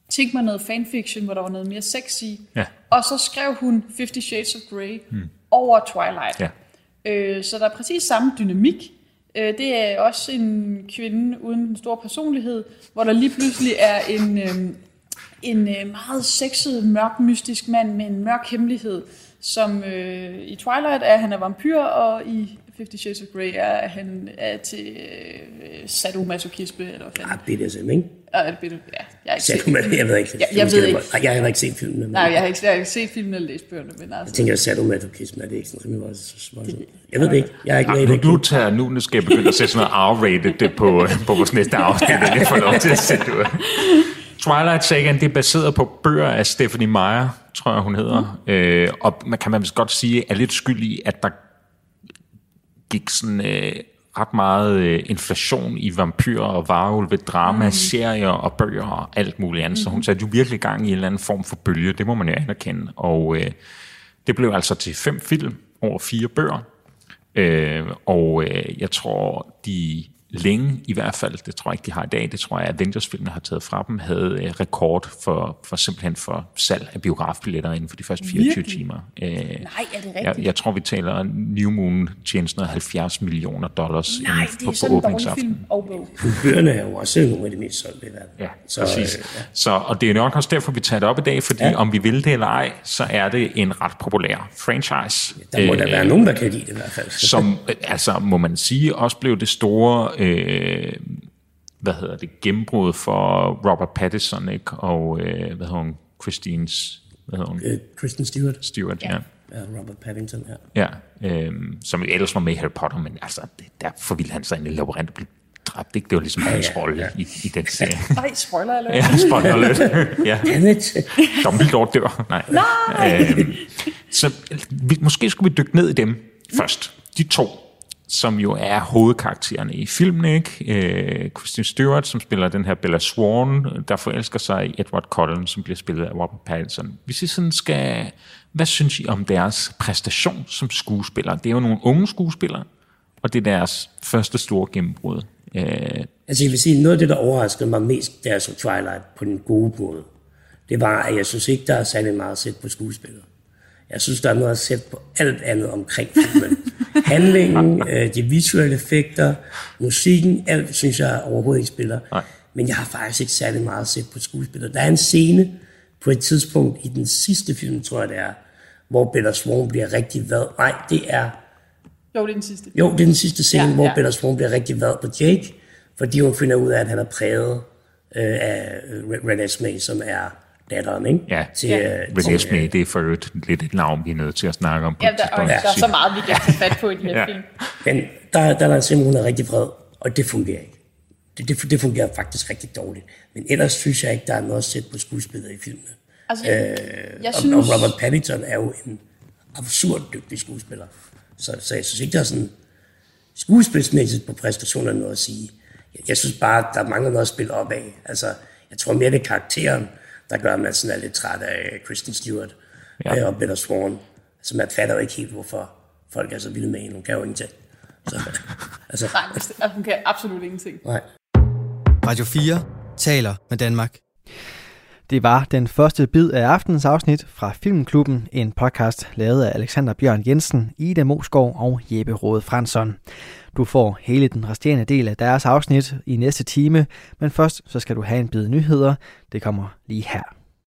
tænke mig noget fanfiction, hvor der var noget mere sex i.
Ja.
Og så skrev hun Fifty Shades of Grey hmm. over Twilight.
Ja.
Øh, så der er præcis samme dynamik. Øh, det er også en kvinde uden en stor personlighed, hvor der lige pludselig er en, øh, en øh, meget sexet, mørk, mystisk mand med en mørk hemmelighed, som øh, i Twilight er, at han er vampyr, og i Fifty Shades of Grey er, at han er til øh, sadomasochisme, eller hvad fanden.
Ah, BDSM, ikke?
Øh, er det bitte? Ja, jeg er ikke
Sagde du med det? Jeg ved ikke.
Ja, jeg ved ikke.
Nej, jeg har heller ikke set filmene. Men
Nej, jeg har ikke, jeg har ikke set filmen eller læst bøgerne, men
Jeg
altså,
tænker, at sadomasochisme er det ikke sådan rimelig meget voldsomt. Jeg ved det ikke. Jeg er ikke med i
Ah, Nu,
det.
nu, tager, nu, nu skal jeg begynde at sætte sådan noget R-rated på, øh, på vores næste afsnit, det jeg får lov til at sætte ud. Twilight Sagan, det er baseret på bøger af Stephanie Meyer, tror jeg hun hedder, mm. øh, og man kan man vist godt sige, er lidt skyld i, at der gik sådan øh, ret meget øh, inflation i vampyrer og varulve, drama, mm. serier og bøger og alt muligt andet. Mm. Så hun satte jo virkelig gang i en eller anden form for bølge, det må man jo anerkende. Og øh, det blev altså til fem film over fire bøger. Øh, og øh, jeg tror, de længe i hvert fald, det tror jeg ikke, de har i dag, det tror jeg, Avengers-filmene har taget fra dem, havde øh, rekord for, for simpelthen for salg af biografbilletter inden for de første 24
Virkelig?
timer. Øh, Nej,
er det
jeg,
rigtigt?
jeg tror, vi taler New Moon tjener sådan noget 70 millioner dollars
nej,
inden
det
på,
er
på
sådan en dårlig
åbningsaftenen.
film og bog.
Bøgerne er jo også nogle af de mest solgte i verden.
Ja,
så,
så,
øh,
præcis. Øh, ja. Så, og det er nok også derfor, vi tager det op i dag, fordi ja. om vi vil det eller ej, så er det en ret populær franchise.
der må øh, der være nogen, der kan lide det i hvert fald.
som øh, altså må man sige også blev det store øh, hvad hedder det gennembrud for Robert Pattinson ikke? og øh, hvad hedder hun Christines hvad hedder hun
Øh, Kristen Stewart
Stewart ja.
og Robert Pattinson her.
Ja, øh, som jo ellers var med i Harry Potter, men altså, det- der forvildte han sig ind i en labyrint og blev dræbt. Ikke? Det var ligesom hans rolle i, i den serie.
Nej, spoiler alert.
ja, spoiler alert. ja.
Dammit.
Dumbledore dør. Nej. Nej! Øhm, så vi, måske skulle vi dykke ned i dem først. De to, som jo er hovedkaraktererne i filmen, ikke? Øh, Christine Stewart, som spiller den her Bella Swan, der forelsker sig i Edward Cullen, som bliver spillet af Robert Pattinson. Hvis I sådan skal... Hvad synes I om deres præstation som skuespillere? Det er jo nogle unge skuespillere, og det er deres første store gennembrud. Øh,
Altså jeg vil sige, noget af det, der overraskede mig mest, da jeg så Twilight på den gode måde, det var, at jeg synes ikke, der er særlig meget sæt på skuespillet. Jeg synes, der er noget at sætte på alt andet omkring filmen. Handlingen, øh, de visuelle effekter, musikken, alt synes jeg overhovedet ikke spiller. Nej. Men jeg har faktisk ikke særlig meget at sætte på skuespillet. Der er en scene på et tidspunkt i den sidste film, tror jeg det er, hvor Bella Swan bliver rigtig vred. Nej, det er
Jo, det er den sidste.
jo, det er den sidste scene,
Ja,
ja, hvor
ja.
ja. Bella Swan bliver rigtig vred på Jake, fordi hun finder ud af, at han er præget øh, af øh, Re- Renée May, som er datteren, ikke?
ja,
Til,
Ja.
øh,
René Smee, det er for øvrigt lidt et navn, vi er nødt til at snakke om. på
Ja,
et
der, og
tidspunkt.
der er så meget, vi kan tage fat på i den her
Ja.
film.
Men der, der er der simpelthen, hun er rigtig vred, og det fungerer ikke. Det, det, det fungerer faktisk rigtig dårligt. Men ellers synes jeg ikke, der er noget at sætte på skuespillet i filmen.
Altså,
Øh,
jeg, jeg
Og,
synes...
og Robert Pattinson er jo en absurd dygtig skuespiller. Så, så jeg synes ikke, der er sådan skuespilsmæssigt på præstationerne noget at sige. Jeg, jeg synes bare, der mangler noget at spille op af. Altså, jeg tror mere, det er karakteren, der gør, at man sådan er lidt træt af Kristen Stewart øh, ja. og Bella Swan. Altså, man fatter jo ikke helt, hvorfor folk er så vilde med hende. Hun kan jo ingenting. Så, altså,
Nej, bestemt- altså, hun kan absolut ingenting.
nej.
Radio 4 taler med Danmark. Det var den første bid af aftenens afsnit fra Filmklubben, en podcast lavet af Alexander Bjørn Jensen, Ida Moskov og Jeppe Rode Fransson. Du får hele den resterende del af deres afsnit i næste time, men først så skal du have en bid nyheder. Det kommer lige her.